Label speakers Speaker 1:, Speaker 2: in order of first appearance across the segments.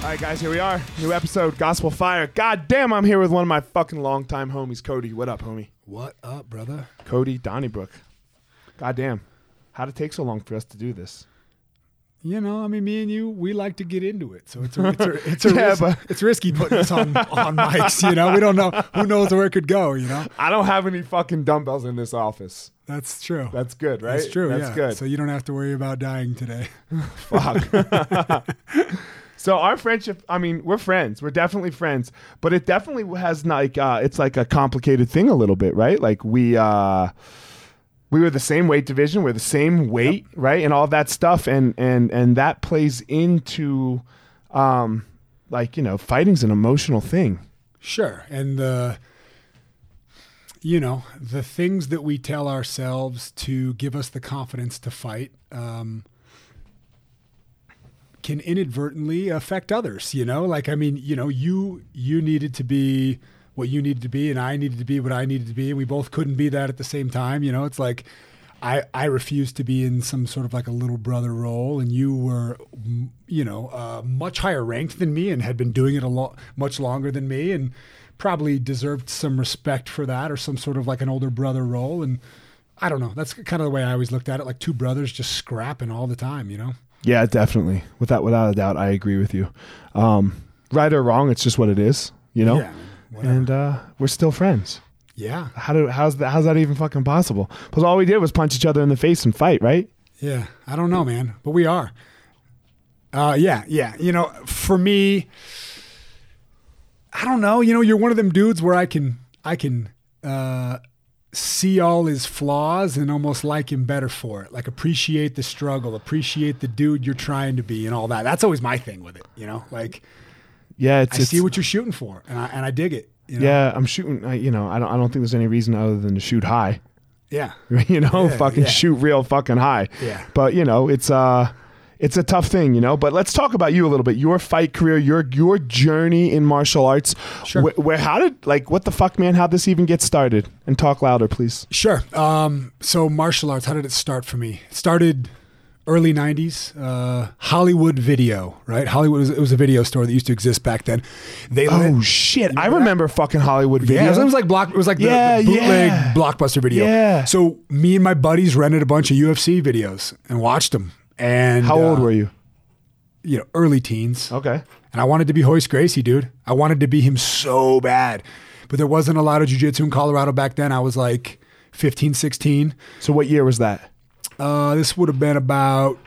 Speaker 1: All right, guys, here we are. New episode, Gospel Fire. God damn, I'm here with one of my fucking longtime homies, Cody. What up, homie?
Speaker 2: What up, brother?
Speaker 1: Cody Donnybrook. God damn. How'd it take so long for us to do this?
Speaker 2: You know, I mean, me and you, we like to get into it, so it's a, it's a, it's, a
Speaker 1: Yeah,
Speaker 2: ris-
Speaker 1: but-
Speaker 2: it's risky putting this on on mics. You know, we don't know who knows where it could go. You know,
Speaker 1: I don't have any fucking dumbbells in this office.
Speaker 2: that's true.
Speaker 1: That's good, right?
Speaker 2: That's true.
Speaker 1: That's
Speaker 2: yeah.
Speaker 1: good.
Speaker 2: So you don't have to worry about dying today.
Speaker 1: Fuck. so our friendship, I mean, we're friends. We're definitely friends, but it definitely has like uh it's like a complicated thing a little bit, right? Like we uh we were the same weight division, we're the same weight, right? And all that stuff and and and that plays into um like, you know, fighting's an emotional thing.
Speaker 2: Sure. And the, you know, the things that we tell ourselves to give us the confidence to fight um, can inadvertently affect others. You know, like I mean, you know, you you needed to be what you needed to be, and I needed to be what I needed to be, and we both couldn't be that at the same time. You know, it's like. I, I refused to be in some sort of like a little brother role, and you were, mm, you know, uh, much higher ranked than me and had been doing it a lot much longer than me, and probably deserved some respect for that or some sort of like an older brother role. And I don't know. That's kind of the way I always looked at it, like two brothers just scrapping all the time, you know.
Speaker 1: Yeah, definitely. Without without a doubt, I agree with you. Um right or wrong, it's just what it is, you know?
Speaker 2: Yeah, whatever.
Speaker 1: and uh we're still friends.
Speaker 2: Yeah,
Speaker 1: How do how's that how's that even fucking possible? Because all we did was punch each other in the face and fight, right?
Speaker 2: yeah. I don't know, man, but we are. Uh, yeah, yeah. You know, for me, I don't know. You know, you're one of them dudes where I can I can uh, see all his flaws and almost like him better for it. Like appreciate the struggle, appreciate the dude you're trying to be, and all that. That's always my thing with it. You know, like
Speaker 1: Yeah, it's,
Speaker 2: I
Speaker 1: it's
Speaker 2: see what you're shooting for, and I and I dig it. You know?
Speaker 1: Yeah, I'm shooting. I, you know, I don't. I don't think there's any reason other than to shoot high.
Speaker 2: Yeah.
Speaker 1: you know,
Speaker 2: Yeah,
Speaker 1: fucking
Speaker 2: yeah.
Speaker 1: shoot real fucking high.
Speaker 2: Yeah.
Speaker 1: But you know, it's uh it's a tough thing, you know. But let's talk about you a little bit. Your fight career, your your journey in martial arts.
Speaker 2: Sure.
Speaker 1: Where, where how did like what the fuck, man? How would this even get started? And talk louder, please.
Speaker 2: Sure. Um, so martial arts, how did it start for me? It started early 90s uh, hollywood video right hollywood was, it was a video store that used to exist back then they let-
Speaker 1: Oh shit! I
Speaker 2: remember that?
Speaker 1: remember fucking Hollywood videos.
Speaker 2: Yeah, it was- it was like block. It was like the,
Speaker 1: Yeah,
Speaker 2: the bootleg
Speaker 1: yeah.
Speaker 2: blockbuster video.
Speaker 1: Yeah.
Speaker 2: So me and my buddies rented a bunch of UFC videos and watched them. And
Speaker 1: how old
Speaker 2: uh,
Speaker 1: were you? Oh.
Speaker 2: you? Know, early teens.
Speaker 1: Okay.
Speaker 2: And I wanted to be Hoist Gracie, dude. I wanted to be him so bad, but there wasn't a lot of jujitsu in Colorado back then. I was like 15, 16.
Speaker 1: So what year was that?
Speaker 2: Uh, this would have been about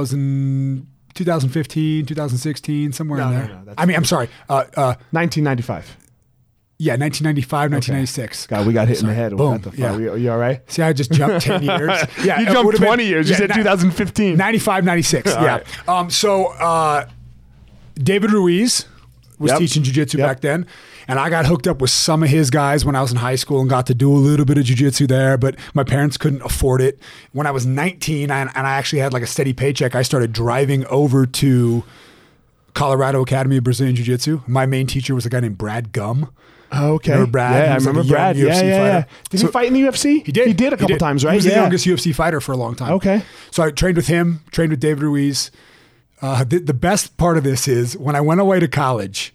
Speaker 2: 2000, 2015, 2016, somewhere in
Speaker 1: no,
Speaker 2: there.
Speaker 1: no, that's-
Speaker 2: I mean, I'm sorry. Uh, uh,
Speaker 1: 1995.
Speaker 2: yeah, 1995, 1996.
Speaker 1: God, we got hit in the head. We
Speaker 2: Boom.
Speaker 1: got the fuck-
Speaker 2: Yeah.
Speaker 1: we- Are you all right?
Speaker 2: See, I just jumped 10 years. Yeah,
Speaker 1: you
Speaker 2: it
Speaker 1: jumped
Speaker 2: would've been-
Speaker 1: 20 years. You
Speaker 2: yeah,
Speaker 1: said
Speaker 2: ni-
Speaker 1: 2015.
Speaker 2: 95, 96.
Speaker 1: All
Speaker 2: yeah.
Speaker 1: right.
Speaker 2: Um, so uh, David Ruiz was
Speaker 1: Yep.
Speaker 2: teaching jujitsu
Speaker 1: Yep.
Speaker 2: back then. And I got hooked up with some of his guys when I was in high school and got to do a little bit of jujitsu there, but my parents couldn't afford it. When I was 19 I, and I actually had like a steady paycheck, I started driving over to Colorado Academy of Brazilian Jiu Jitsu. My main teacher was a guy named Brad Gum.
Speaker 1: Okay.
Speaker 2: Remember Brad?
Speaker 1: Yeah,
Speaker 2: He
Speaker 1: I
Speaker 2: was like
Speaker 1: remember
Speaker 2: a young
Speaker 1: Brad. yeah, yeah,
Speaker 2: UFC
Speaker 1: yeah.
Speaker 2: fighter.
Speaker 1: Did he
Speaker 2: So-
Speaker 1: fight in the UFC?
Speaker 2: He did.
Speaker 1: He did a couple times, right?
Speaker 2: He was
Speaker 1: yeah.
Speaker 2: the youngest UFC fighter for a long time.
Speaker 1: Okay.
Speaker 2: So I trained with him, trained with David Ruiz. Uh, the, the best part of this is when I went away to college,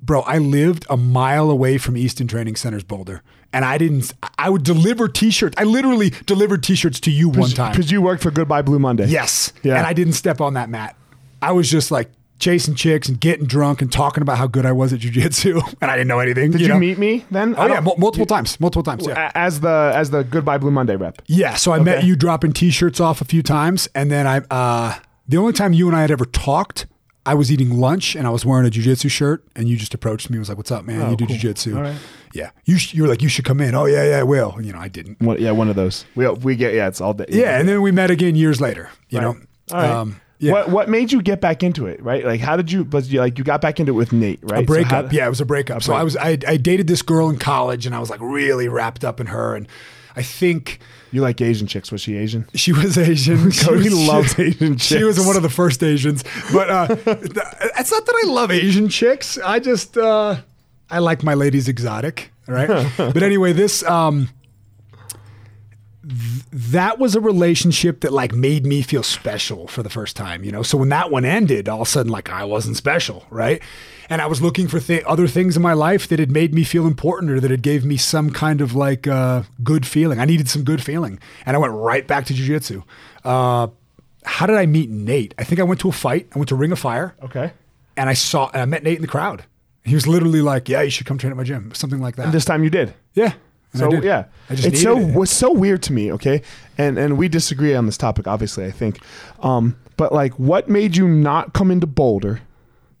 Speaker 2: bro, I lived a mile away from Easton Training Center's Boulder. And I didn't, I would deliver t shirts. I literally delivered t shirts to you one time.
Speaker 1: Because you worked for Goodbye Blue Monday.
Speaker 2: Yes.
Speaker 1: Yeah.
Speaker 2: And I didn't step on that mat. I was just like chasing chicks and getting drunk and talking about how good I was at jujitsu. And I didn't know anything.
Speaker 1: Did you,
Speaker 2: know?
Speaker 1: meet me then?
Speaker 2: Oh, yeah, mul- multiple times. Multiple times. Yeah.
Speaker 1: A- as the as the Goodbye Blue Monday rep.
Speaker 2: Yeah, so I met you dropping t-shirts off a few times, and then I uh, the only time you and I had ever talked, I was eating lunch and I was wearing a jujitsu shirt, and you just approached me and was like, "What's up, man? you do jujitsu?
Speaker 1: Oh, right.
Speaker 2: Yeah, you sh- you were like, you should come in. Oh yeah, yeah, I will. And, You know, I didn't.
Speaker 1: One, yeah, one of those. We we get yeah, Um, it's all day.
Speaker 2: Yeah, and then we met again years later. You know, Um,
Speaker 1: All right.
Speaker 2: yeah,
Speaker 1: What what made you get back into it? Right, like how did you? But you like you got back into it with Nate, right?
Speaker 2: a
Speaker 1: So how-
Speaker 2: breakup. yeah, it was a breakup. so I was I, I dated this girl in college, and I was like really wrapped up in her, and I think.
Speaker 1: You like Asian chicks? Was she Asian?
Speaker 2: She was Asian.
Speaker 1: Cody
Speaker 2: she was,
Speaker 1: loves Asian
Speaker 2: She was
Speaker 1: chicks.
Speaker 2: one of the first Asians. But uh, th- it's not that I love Asian chicks. I just uh, I like my ladies exotic, all right? but anyway, this um, th- that was a relationship that like made me feel special for the first time, you know. So when that one ended, all of a sudden like I wasn't special, right? And I was looking for th- other things in my life that had made me feel important or that had gave me some kind of like uh, good feeling. I needed some good feeling, and I went right back to jujitsu. Uh, how did I meet Nate? I think I went to a fight. I went to Ring of Fire,
Speaker 1: Okay.
Speaker 2: and I saw and I met Nate in the crowd. He was literally like, "Yeah, you should come train at my gym," something like that.
Speaker 1: This time you did.
Speaker 2: yeah. And I
Speaker 1: So
Speaker 2: did.
Speaker 1: yeah,
Speaker 2: I just
Speaker 1: it's so
Speaker 2: needed it.
Speaker 1: what's so weird to me. Okay, and and we disagree on this topic, obviously. I think, um, but like, what made you not come into Boulder,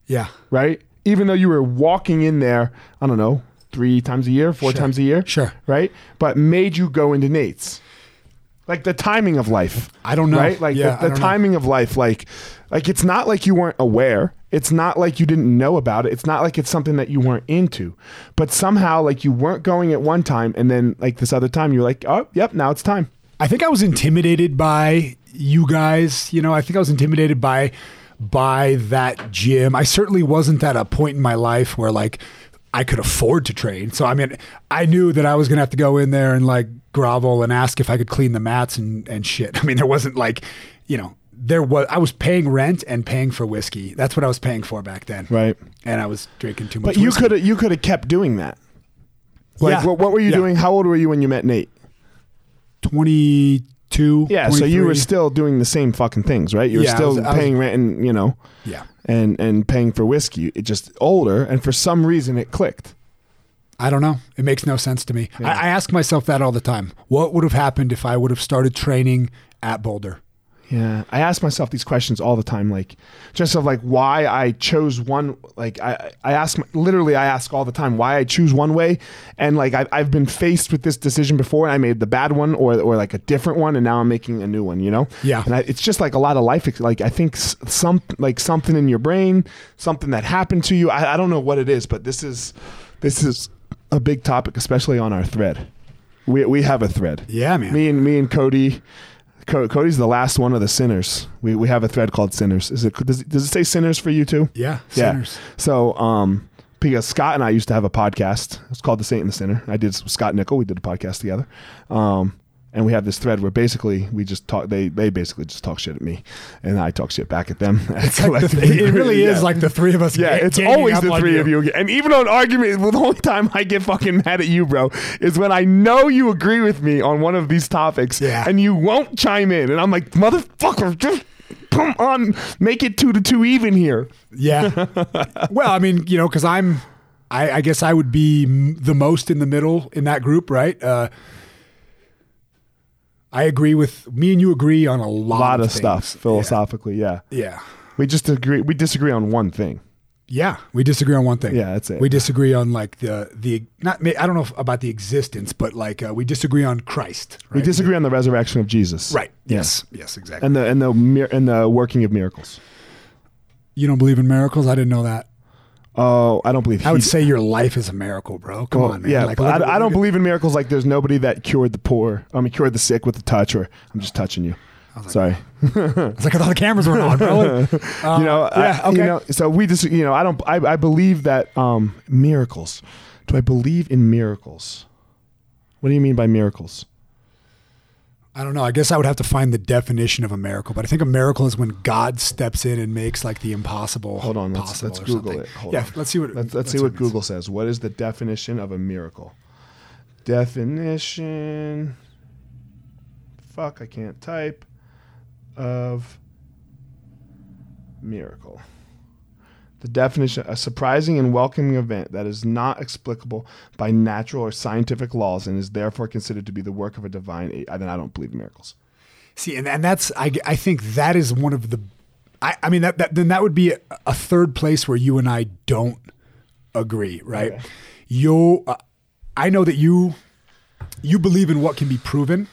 Speaker 2: yeah.
Speaker 1: right? Even though you were walking in there, I don't know, three times a year, four
Speaker 2: Sure.
Speaker 1: times a year,
Speaker 2: Sure.
Speaker 1: right? But made you go into Nate's, like the timing of life.
Speaker 2: I don't know.
Speaker 1: right? Like
Speaker 2: Yeah,
Speaker 1: the,
Speaker 2: I
Speaker 1: the
Speaker 2: don't know.
Speaker 1: timing of life, like, like it's not like you weren't aware. It's not like you didn't know about it. It's not like it's something that you weren't into, but somehow like you weren't going at one time, and then like this other time, you're like, oh, yep, now it's time.
Speaker 2: I think I was intimidated by you guys. You know, I think I was intimidated by by that gym. I certainly wasn't at a point in my life where like I could afford to train. So I mean, I knew that I was gonna have to go in there and like grovel and ask if I could clean the mats and and shit. I mean, there wasn't like, you know, there was I was paying rent and paying for whiskey. That's what I was paying for back then.
Speaker 1: Right.
Speaker 2: And I was drinking too much.
Speaker 1: But you
Speaker 2: whiskey.
Speaker 1: could have you could have kept doing that. Like,
Speaker 2: Yeah.
Speaker 1: what, what were you
Speaker 2: Yeah.
Speaker 1: doing? How old were you when you met Nate?
Speaker 2: twenty two.
Speaker 1: Yeah, so you were still doing the same fucking things, right? You were
Speaker 2: Yeah, I
Speaker 1: still
Speaker 2: was- I was-
Speaker 1: paying rent and you know,
Speaker 2: yeah.
Speaker 1: and and paying for whiskey. It just older, and for some reason it clicked.
Speaker 2: I don't know. It makes no sense to me. I, I ask myself that all the time. What would have happened if I would have started training at Boulder?
Speaker 1: Yeah, I ask myself these questions all the time, like just of like why I chose one. Like I, I ask literally, I ask all the time why I choose one way, and like I've, I've been faced with this decision before, and I made the bad one or or like a different one, and now I'm making a new one. You know?
Speaker 2: Yeah.
Speaker 1: And I, it's just like a lot of life. ex- Like I think s- some like something in your brain, something that happened to you. I, I don't know what it is, but this is this is a big topic, especially on our thread. We we have a thread.
Speaker 2: Yeah, man.
Speaker 1: Me and me and Cody. Co- Cody's the last one of the sinners. We we have a thread called sinners. Is it does, it- does it say sinners for you too?
Speaker 2: yeah,
Speaker 1: Yeah.
Speaker 2: sinners.
Speaker 1: So, um, because Scott and I used to have a podcast. It's called The Saint and the Sinner. I did with Scott Nickel. We did a podcast together. Um, and we have this thread where basically we just talk. They they basically just talk shit at me, and I talk shit back at them. Collectively,
Speaker 2: It really is
Speaker 1: Yeah.
Speaker 2: like the three of us.
Speaker 1: Yeah,
Speaker 2: ga-
Speaker 1: it's
Speaker 2: ganging
Speaker 1: always
Speaker 2: up
Speaker 1: the
Speaker 2: on
Speaker 1: three of you. again. And even on argument, well, the only time I get fucking mad at you, bro, is when I know you agree with me on one of these topics
Speaker 2: Yeah.
Speaker 1: and you won't chime in. And I'm like, motherfucker, just come on, make it two to two even here.
Speaker 2: Yeah. well, I mean, you know, because I'm, I, I guess I would be m- the most in the middle in that group, right? Uh, I agree with me and you agree on a lot,
Speaker 1: A lot of
Speaker 2: things.
Speaker 1: stuff philosophically, yeah.
Speaker 2: Yeah.
Speaker 1: We just agree. We disagree on one thing.
Speaker 2: Yeah, we disagree on one thing.
Speaker 1: Yeah, that's it.
Speaker 2: We disagree on like the the not. I don't know if, about the existence, but like uh, we disagree on Christ. Right?
Speaker 1: We disagree on the resurrection of Jesus.
Speaker 2: Right.
Speaker 1: Yeah.
Speaker 2: Yes. Yes. Exactly.
Speaker 1: And the and the mir- and the working of miracles.
Speaker 2: you don't believe in miracles? I didn't know that.
Speaker 1: Oh, I don't believe.
Speaker 2: I would
Speaker 1: he-
Speaker 2: say your life is a miracle, bro. Come
Speaker 1: Well,
Speaker 2: on, man.
Speaker 1: yeah,
Speaker 2: Like,
Speaker 1: but
Speaker 2: look
Speaker 1: I,
Speaker 2: at-
Speaker 1: I don't
Speaker 2: look
Speaker 1: believe in miracles. Like there's nobody that cured the poor. I mean, cured the sick with a touch, or I'm just touching you. Sorry,
Speaker 2: at- It's like I thought the cameras weren't on, bro. Uh,
Speaker 1: you know.
Speaker 2: yeah,
Speaker 1: I,
Speaker 2: okay.
Speaker 1: You know, so we just, you know, I don't. I, I believe that um, miracles. Do I believe in miracles? What do you mean by miracles?
Speaker 2: I don't know. I guess I would have to find the definition of a miracle, but I think a miracle is when God steps in and makes like the impossible.
Speaker 1: Hold on, let's,
Speaker 2: possible
Speaker 1: let's
Speaker 2: or
Speaker 1: Google
Speaker 2: something.
Speaker 1: it. Hold
Speaker 2: yeah,
Speaker 1: on.
Speaker 2: let's see what.
Speaker 1: Let's, let's see what
Speaker 2: it means.
Speaker 1: Google says. What is the definition of a miracle? Definition. Fuck, I can't type. Of miracle. The definition a surprising and welcoming event that is not explicable by natural or scientific laws and is therefore considered to be the work of a divine. a- I, then I don't believe in miracles.
Speaker 2: See, and, and that's I, I think that is one of the, I, I mean that, that then that would be a, a third place where you and I don't agree, right? You, uh, I know that you, you believe in what can be proven,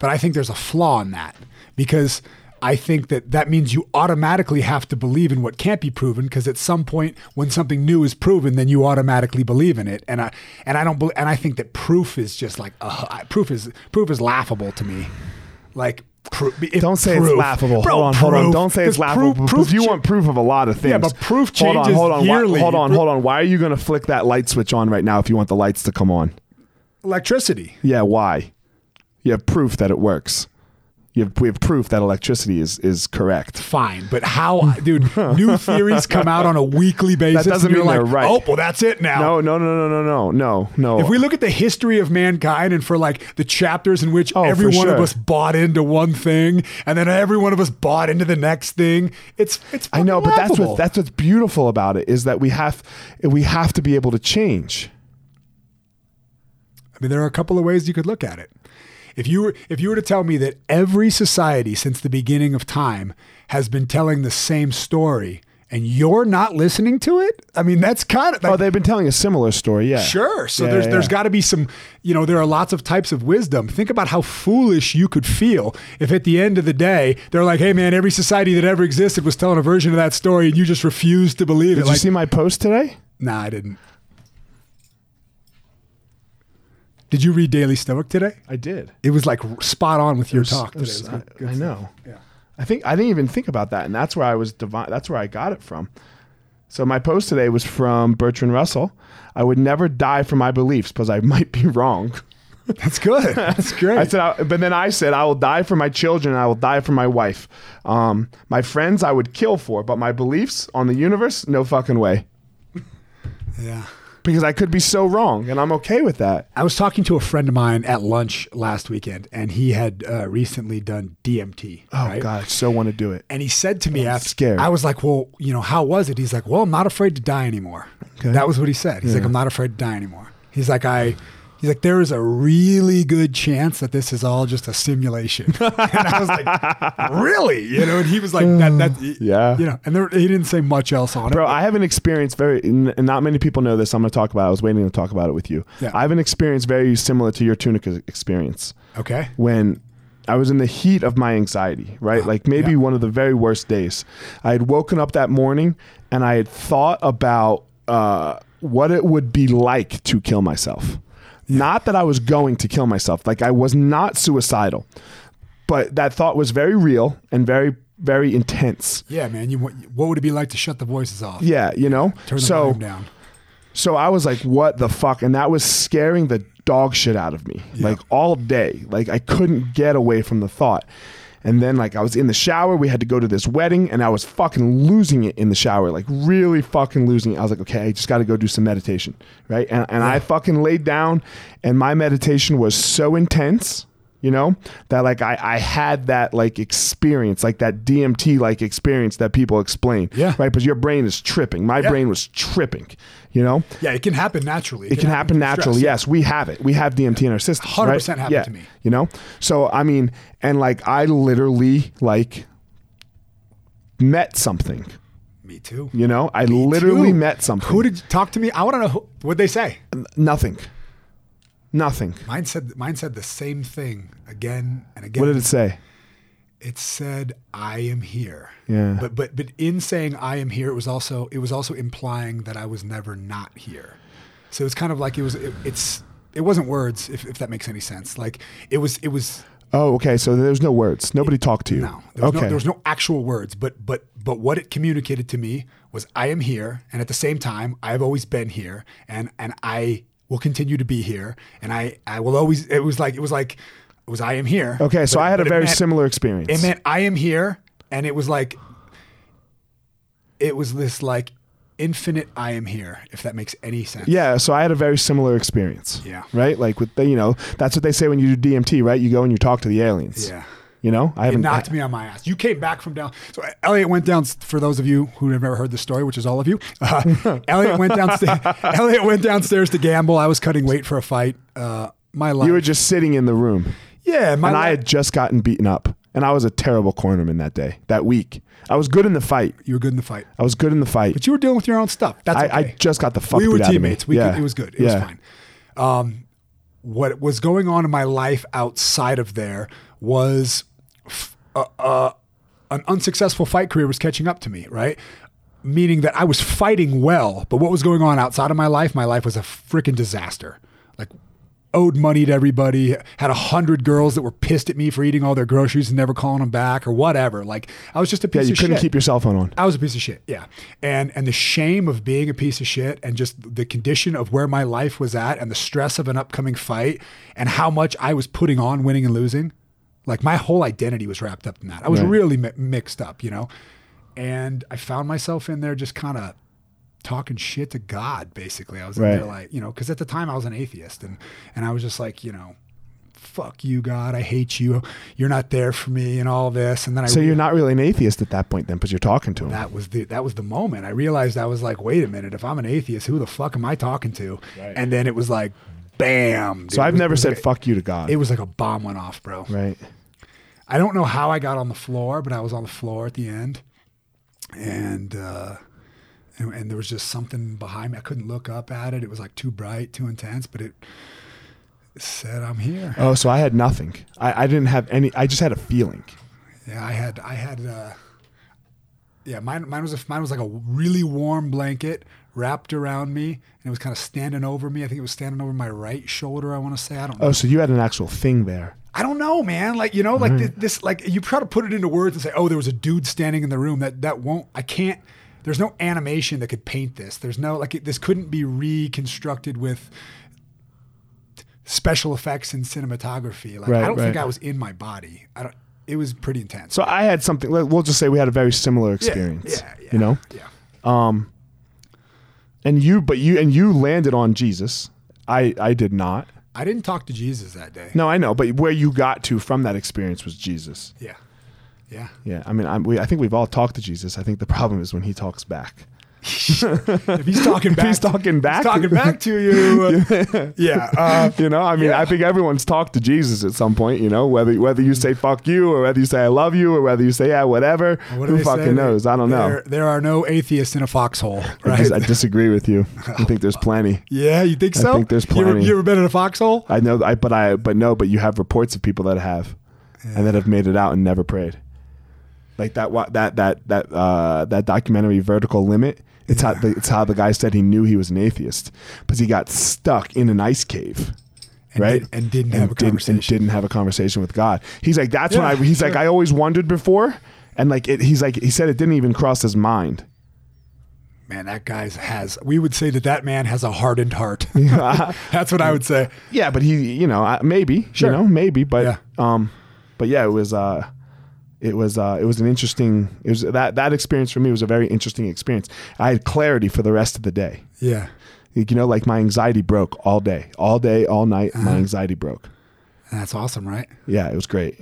Speaker 2: but I think there's a flaw in that because I think that that means you automatically have to believe in what can't be proven because at some point when something new is proven, then you automatically believe in it, and I and I don't bel and I think that proof is just like uh, I- proof is proof is laughable to me, like. Pro- if
Speaker 1: Don't say
Speaker 2: proof-
Speaker 1: it's laughable.
Speaker 2: Bro,
Speaker 1: hold on, hold on.
Speaker 2: proof-
Speaker 1: Don't say it's
Speaker 2: 'cause
Speaker 1: laughable
Speaker 2: Proof,
Speaker 1: because
Speaker 2: proof
Speaker 1: you
Speaker 2: cha-
Speaker 1: want proof of a lot of things.
Speaker 2: Yeah, but proof
Speaker 1: hold
Speaker 2: changes
Speaker 1: on, hold on,
Speaker 2: yearly.
Speaker 1: Why, hold on, hold on. Why are you going to flick that light switch on right now if you want the lights to come on?
Speaker 2: electricity.
Speaker 1: Yeah, why? You have proof that it works. You have, we have proof that electricity is is correct.
Speaker 2: Fine, but how, dude? New theories come out on a weekly basis.
Speaker 1: doesn't
Speaker 2: and you're
Speaker 1: mean
Speaker 2: like,
Speaker 1: they're right.
Speaker 2: Oh, well, that's it now.
Speaker 1: No, no, no, no, no, no, no, no.
Speaker 2: If we look at the history of mankind and for like the chapters in which
Speaker 1: Oh,
Speaker 2: every
Speaker 1: for
Speaker 2: one of
Speaker 1: sure.
Speaker 2: us bought into one thing and then every one of us bought into the next thing, it's it's
Speaker 1: I know, but that's
Speaker 2: laughable.
Speaker 1: what that's what's beautiful about it is that we have we have to be able to change.
Speaker 2: I mean, there are a couple of ways you could look at it. If you were if you were to tell me that every society since the beginning of time has been telling the same story and you're not listening to it, I mean, that's kind of like,
Speaker 1: Oh, they've been telling a similar story, yeah.
Speaker 2: Sure. So
Speaker 1: Yeah,
Speaker 2: there's
Speaker 1: yeah,
Speaker 2: there's
Speaker 1: yeah.
Speaker 2: got to be some, you know, there are lots of types of wisdom. Think about how foolish you could feel if at the end of the day they're like, "Hey man, every society that ever existed was telling a version of that story and you just refused to believe
Speaker 1: Did
Speaker 2: it."
Speaker 1: you
Speaker 2: Like,
Speaker 1: see my post today?
Speaker 2: nah, I didn't. Did you read Daily Stoic today?
Speaker 1: I did.
Speaker 2: It was like r- spot on with your talk today.
Speaker 1: There's-
Speaker 2: It was good- good
Speaker 1: I, I
Speaker 2: stuff.
Speaker 1: know.
Speaker 2: Yeah.
Speaker 1: I think I didn't even think about that, and that's where I was divine. That's where I got it from. So my post today was from Bertrand Russell. I would never die for my beliefs because I might be wrong.
Speaker 2: That's good. That's great.
Speaker 1: I said, I, but then I said, I will die for my children. I will die for my wife. Um, my friends, I would kill for, but my beliefs on the universe, no fucking way.
Speaker 2: yeah.
Speaker 1: Because I could be so wrong, and I'm okay with that.
Speaker 2: I was talking to a friend of mine at lunch last weekend, and he had uh, recently done DMT.
Speaker 1: Oh God, I so want to do it.
Speaker 2: And he said to me after,
Speaker 1: scared.
Speaker 2: I was like, well, you know, how was it? He's like, well, I'm not afraid to die anymore. That was what he said. He's like, I'm not afraid to die anymore. He's like, I, he's like, there is a really good chance that this is all just a simulation. and I was like, really? You know, and he was like, that, that,
Speaker 1: Yeah.
Speaker 2: You know, and there, he didn't say much else on
Speaker 1: Bro,
Speaker 2: it.
Speaker 1: I have an experience very, n- and not many people know this. I'm going to talk about. It. I was waiting to talk about it with you.
Speaker 2: Yeah.
Speaker 1: I have an experience very similar to your Tunica experience
Speaker 2: Okay.
Speaker 1: when I was in the heat of my anxiety. Right, like maybe
Speaker 2: Ah, yeah.
Speaker 1: one of the very worst days. I had woken up that morning and I had thought about. Uh, what it would be like to kill myself. Not that I was going to kill myself, like I was not suicidal, but that thought was very real and very, very intense.
Speaker 2: Yeah, man. You what, what would it be like to shut the voices off?
Speaker 1: Yeah, you know?
Speaker 2: Turn the
Speaker 1: so,
Speaker 2: volume down.
Speaker 1: so I was like, what the fuck? And that was scaring the dog shit out of me, like all day. Like I couldn't get away from the thought. And then like I was in the shower, we had to go to this wedding, and I was fucking losing it in the shower, like really fucking losing it. I was like, okay, I just gotta go do some meditation. Right. And and I fucking laid down and my meditation was so intense you know that like I, I had that like experience like that dmt like experience that people explain
Speaker 2: Yeah.
Speaker 1: right but your brain is tripping my brain was tripping you know
Speaker 2: Yeah, it can happen naturally.
Speaker 1: it can happen naturally yes we have it we have dmt in our system
Speaker 2: 100% happened
Speaker 1: yeah.
Speaker 2: to me.
Speaker 1: you know so i mean and like i literally like met something
Speaker 2: Me too.
Speaker 1: you know i literally
Speaker 2: Dude,
Speaker 1: met something
Speaker 2: Who did you talk to me? I want to know who, what they say.
Speaker 1: nothing nothing
Speaker 2: Mine said mine said the same thing again and again.
Speaker 1: what did it say
Speaker 2: it said I am here.
Speaker 1: Yeah.
Speaker 2: But but but in saying I am here, it was also it was also implying that I was never not here. So it's kind of like it was it, it's it wasn't words if, if that makes any sense. Like it was it was
Speaker 1: oh okay so there's no words nobody talked to you
Speaker 2: no there was,
Speaker 1: okay
Speaker 2: no there was no actual words, but but but what it communicated to me was I am here, and at the same time I've always been here, and and I will continue to be here, and I I will always. It was like it was like it was I am here.
Speaker 1: Okay, so
Speaker 2: but-
Speaker 1: I had a
Speaker 2: but it
Speaker 1: very
Speaker 2: meant-
Speaker 1: similar experience.
Speaker 2: It meant I am here, and it was like it was this like infinite I am here, if that makes any sense.
Speaker 1: yeah, so I had a very similar experience.
Speaker 2: Yeah.
Speaker 1: Right? Like with the, you know, that's what they say when you do DMT, right? You go and you talk to the aliens.
Speaker 2: Yeah.
Speaker 1: You know, I
Speaker 2: It
Speaker 1: haven't
Speaker 2: knocked
Speaker 1: I-
Speaker 2: me on my ass. You came back from down. So Elliot went down. For those of you who have never heard the story, which is all of you, uh, Elliot went downstairs. Elliot went downstairs to gamble. I was cutting weight for a fight. Uh, my life.
Speaker 1: you were just sitting in the room.
Speaker 2: yeah, my
Speaker 1: and I
Speaker 2: life-
Speaker 1: had just gotten beaten up. And I was a terrible cornerman that day, that week. I was good in the fight.
Speaker 2: you were good in the fight,
Speaker 1: I was good in the fight.
Speaker 2: but you were dealing with your own stuff. That's
Speaker 1: I,
Speaker 2: okay.
Speaker 1: I just got the fuck
Speaker 2: we were
Speaker 1: beat out of me.
Speaker 2: teammates. We
Speaker 1: Yeah.
Speaker 2: could, it was good. It
Speaker 1: Yeah.
Speaker 2: was fine. Um, what was going on in my life outside of there was f- uh, uh, an unsuccessful fight career was catching up to me, right? Meaning that I was fighting well, but what was going on outside of my life? My life was a freaking disaster. Like owed money to everybody, had a hundred girls that were pissed at me for eating all their groceries and never calling them back or whatever. Like I was just a piece
Speaker 1: Yeah, you
Speaker 2: of
Speaker 1: couldn't
Speaker 2: shit.
Speaker 1: keep your cell phone on.
Speaker 2: I was a piece of shit, yeah. And and the shame of being a piece of shit and just the condition of where my life was at and the stress of an upcoming fight and how much I was putting on winning and losing. Like my whole identity was wrapped up in that. I was
Speaker 1: Right.
Speaker 2: really mi- mixed up, you know. And I found myself in there just kind of talking shit to God basically. I was in
Speaker 1: Right.
Speaker 2: there like, you know, cuz at the time I was an atheist and and I was just like, you know, fuck you God, I hate you. You're not there for me and all this. And then I
Speaker 1: So you're not really an atheist at that point then, because you're talking to him.
Speaker 2: that was the that was the moment I realized I was like, wait a minute, if I'm an atheist, who the fuck am I talking to? And then it was like, bam. dude.
Speaker 1: so
Speaker 2: It
Speaker 1: I've
Speaker 2: was-
Speaker 1: never
Speaker 2: it was
Speaker 1: said
Speaker 2: like a-
Speaker 1: fuck you to God.
Speaker 2: It was like a bomb went off, bro.
Speaker 1: right.
Speaker 2: I don't know how I got on the floor, but I was on the floor at the end, and uh, and, and there was just something behind me. I couldn't look up at it. It was like too bright, too intense, but it said, "I'm here."
Speaker 1: Oh, so I had nothing. I, I didn't have any. I just had a feeling.
Speaker 2: Yeah, I had I had uh yeah, mine mine was a, mine was like a really warm blanket wrapped around me and it was kind of standing over me. I think it was standing over my right shoulder, I want to say. I don't know.
Speaker 1: Oh, so you had an actual thing there.
Speaker 2: I don't know, man. Like, you know, like
Speaker 1: Mm-hmm.
Speaker 2: thi- this like you try to put it into words and say, "Oh, there was a dude standing in the room." That that won't I can't there's no animation that could paint this. There's no like it, this couldn't be reconstructed with special effects and cinematography. Like
Speaker 1: Right,
Speaker 2: I don't think
Speaker 1: right.
Speaker 2: I was in my body. I don't it was pretty intense.
Speaker 1: So I had something. let- We'll just say we had a very similar
Speaker 2: Yeah,
Speaker 1: experience.
Speaker 2: yeah,
Speaker 1: You know,
Speaker 2: yeah.
Speaker 1: and you, but you, and you landed on Jesus. I, I did not.
Speaker 2: I didn't talk to Jesus that day.
Speaker 1: No, I know, but where you got to from that experience was Jesus.
Speaker 2: Yeah. Yeah.
Speaker 1: Yeah, I mean, I'm, we, I think we've all talked to Jesus. I think the problem is when he talks back.
Speaker 2: If he's talking back,
Speaker 1: he's talking back-
Speaker 2: he's talking back to you. yeah. Uh,
Speaker 1: You know, I mean, I think everyone's talked to Jesus at some point. You know, whether whether you say "fuck you" or whether you say "I love you" or whether you say "yeah, whatever,"
Speaker 2: what do
Speaker 1: who
Speaker 2: they say?
Speaker 1: fucking knows? I don't know.
Speaker 2: There, there are no atheists in a foxhole,
Speaker 1: I,
Speaker 2: right?
Speaker 1: dis- I disagree with you. I think there's plenty.
Speaker 2: yeah, you think so?
Speaker 1: think there's
Speaker 2: You ever,
Speaker 1: plenty.
Speaker 2: you ever been in a foxhole?
Speaker 1: I know, I but I but no, but you have reports of people that have, and that have made it out and never prayed. Like that wa- that that that uh, that documentary Vertical Limit. It's how the, it's how the guy said he knew he was an atheist because he got stuck in an ice cave.
Speaker 2: And
Speaker 1: right
Speaker 2: did- and didn't have a
Speaker 1: didn't- and
Speaker 2: conversation.
Speaker 1: didn't have a conversation with God. He's like that's when
Speaker 2: Yeah,
Speaker 1: I he's like
Speaker 2: sure.
Speaker 1: I always wondered before and like it, he's like he said it didn't even cross his mind.
Speaker 2: Man, that guy has. We would say that that man has a hardened heart. That's what I would say.
Speaker 1: Yeah, but he, you know, I- maybe,
Speaker 2: Sure.
Speaker 1: you know, maybe, but,
Speaker 2: Yeah.
Speaker 1: um, but yeah, it was, uh, it was, uh, it was an interesting, it was that, that experience for me was a very interesting experience. I had clarity for the rest of the day.
Speaker 2: Yeah,
Speaker 1: Like, You know, like my anxiety broke all day, all day, all night.
Speaker 2: Uh-huh.
Speaker 1: My anxiety broke.
Speaker 2: that's awesome, right?
Speaker 1: Yeah, it was great.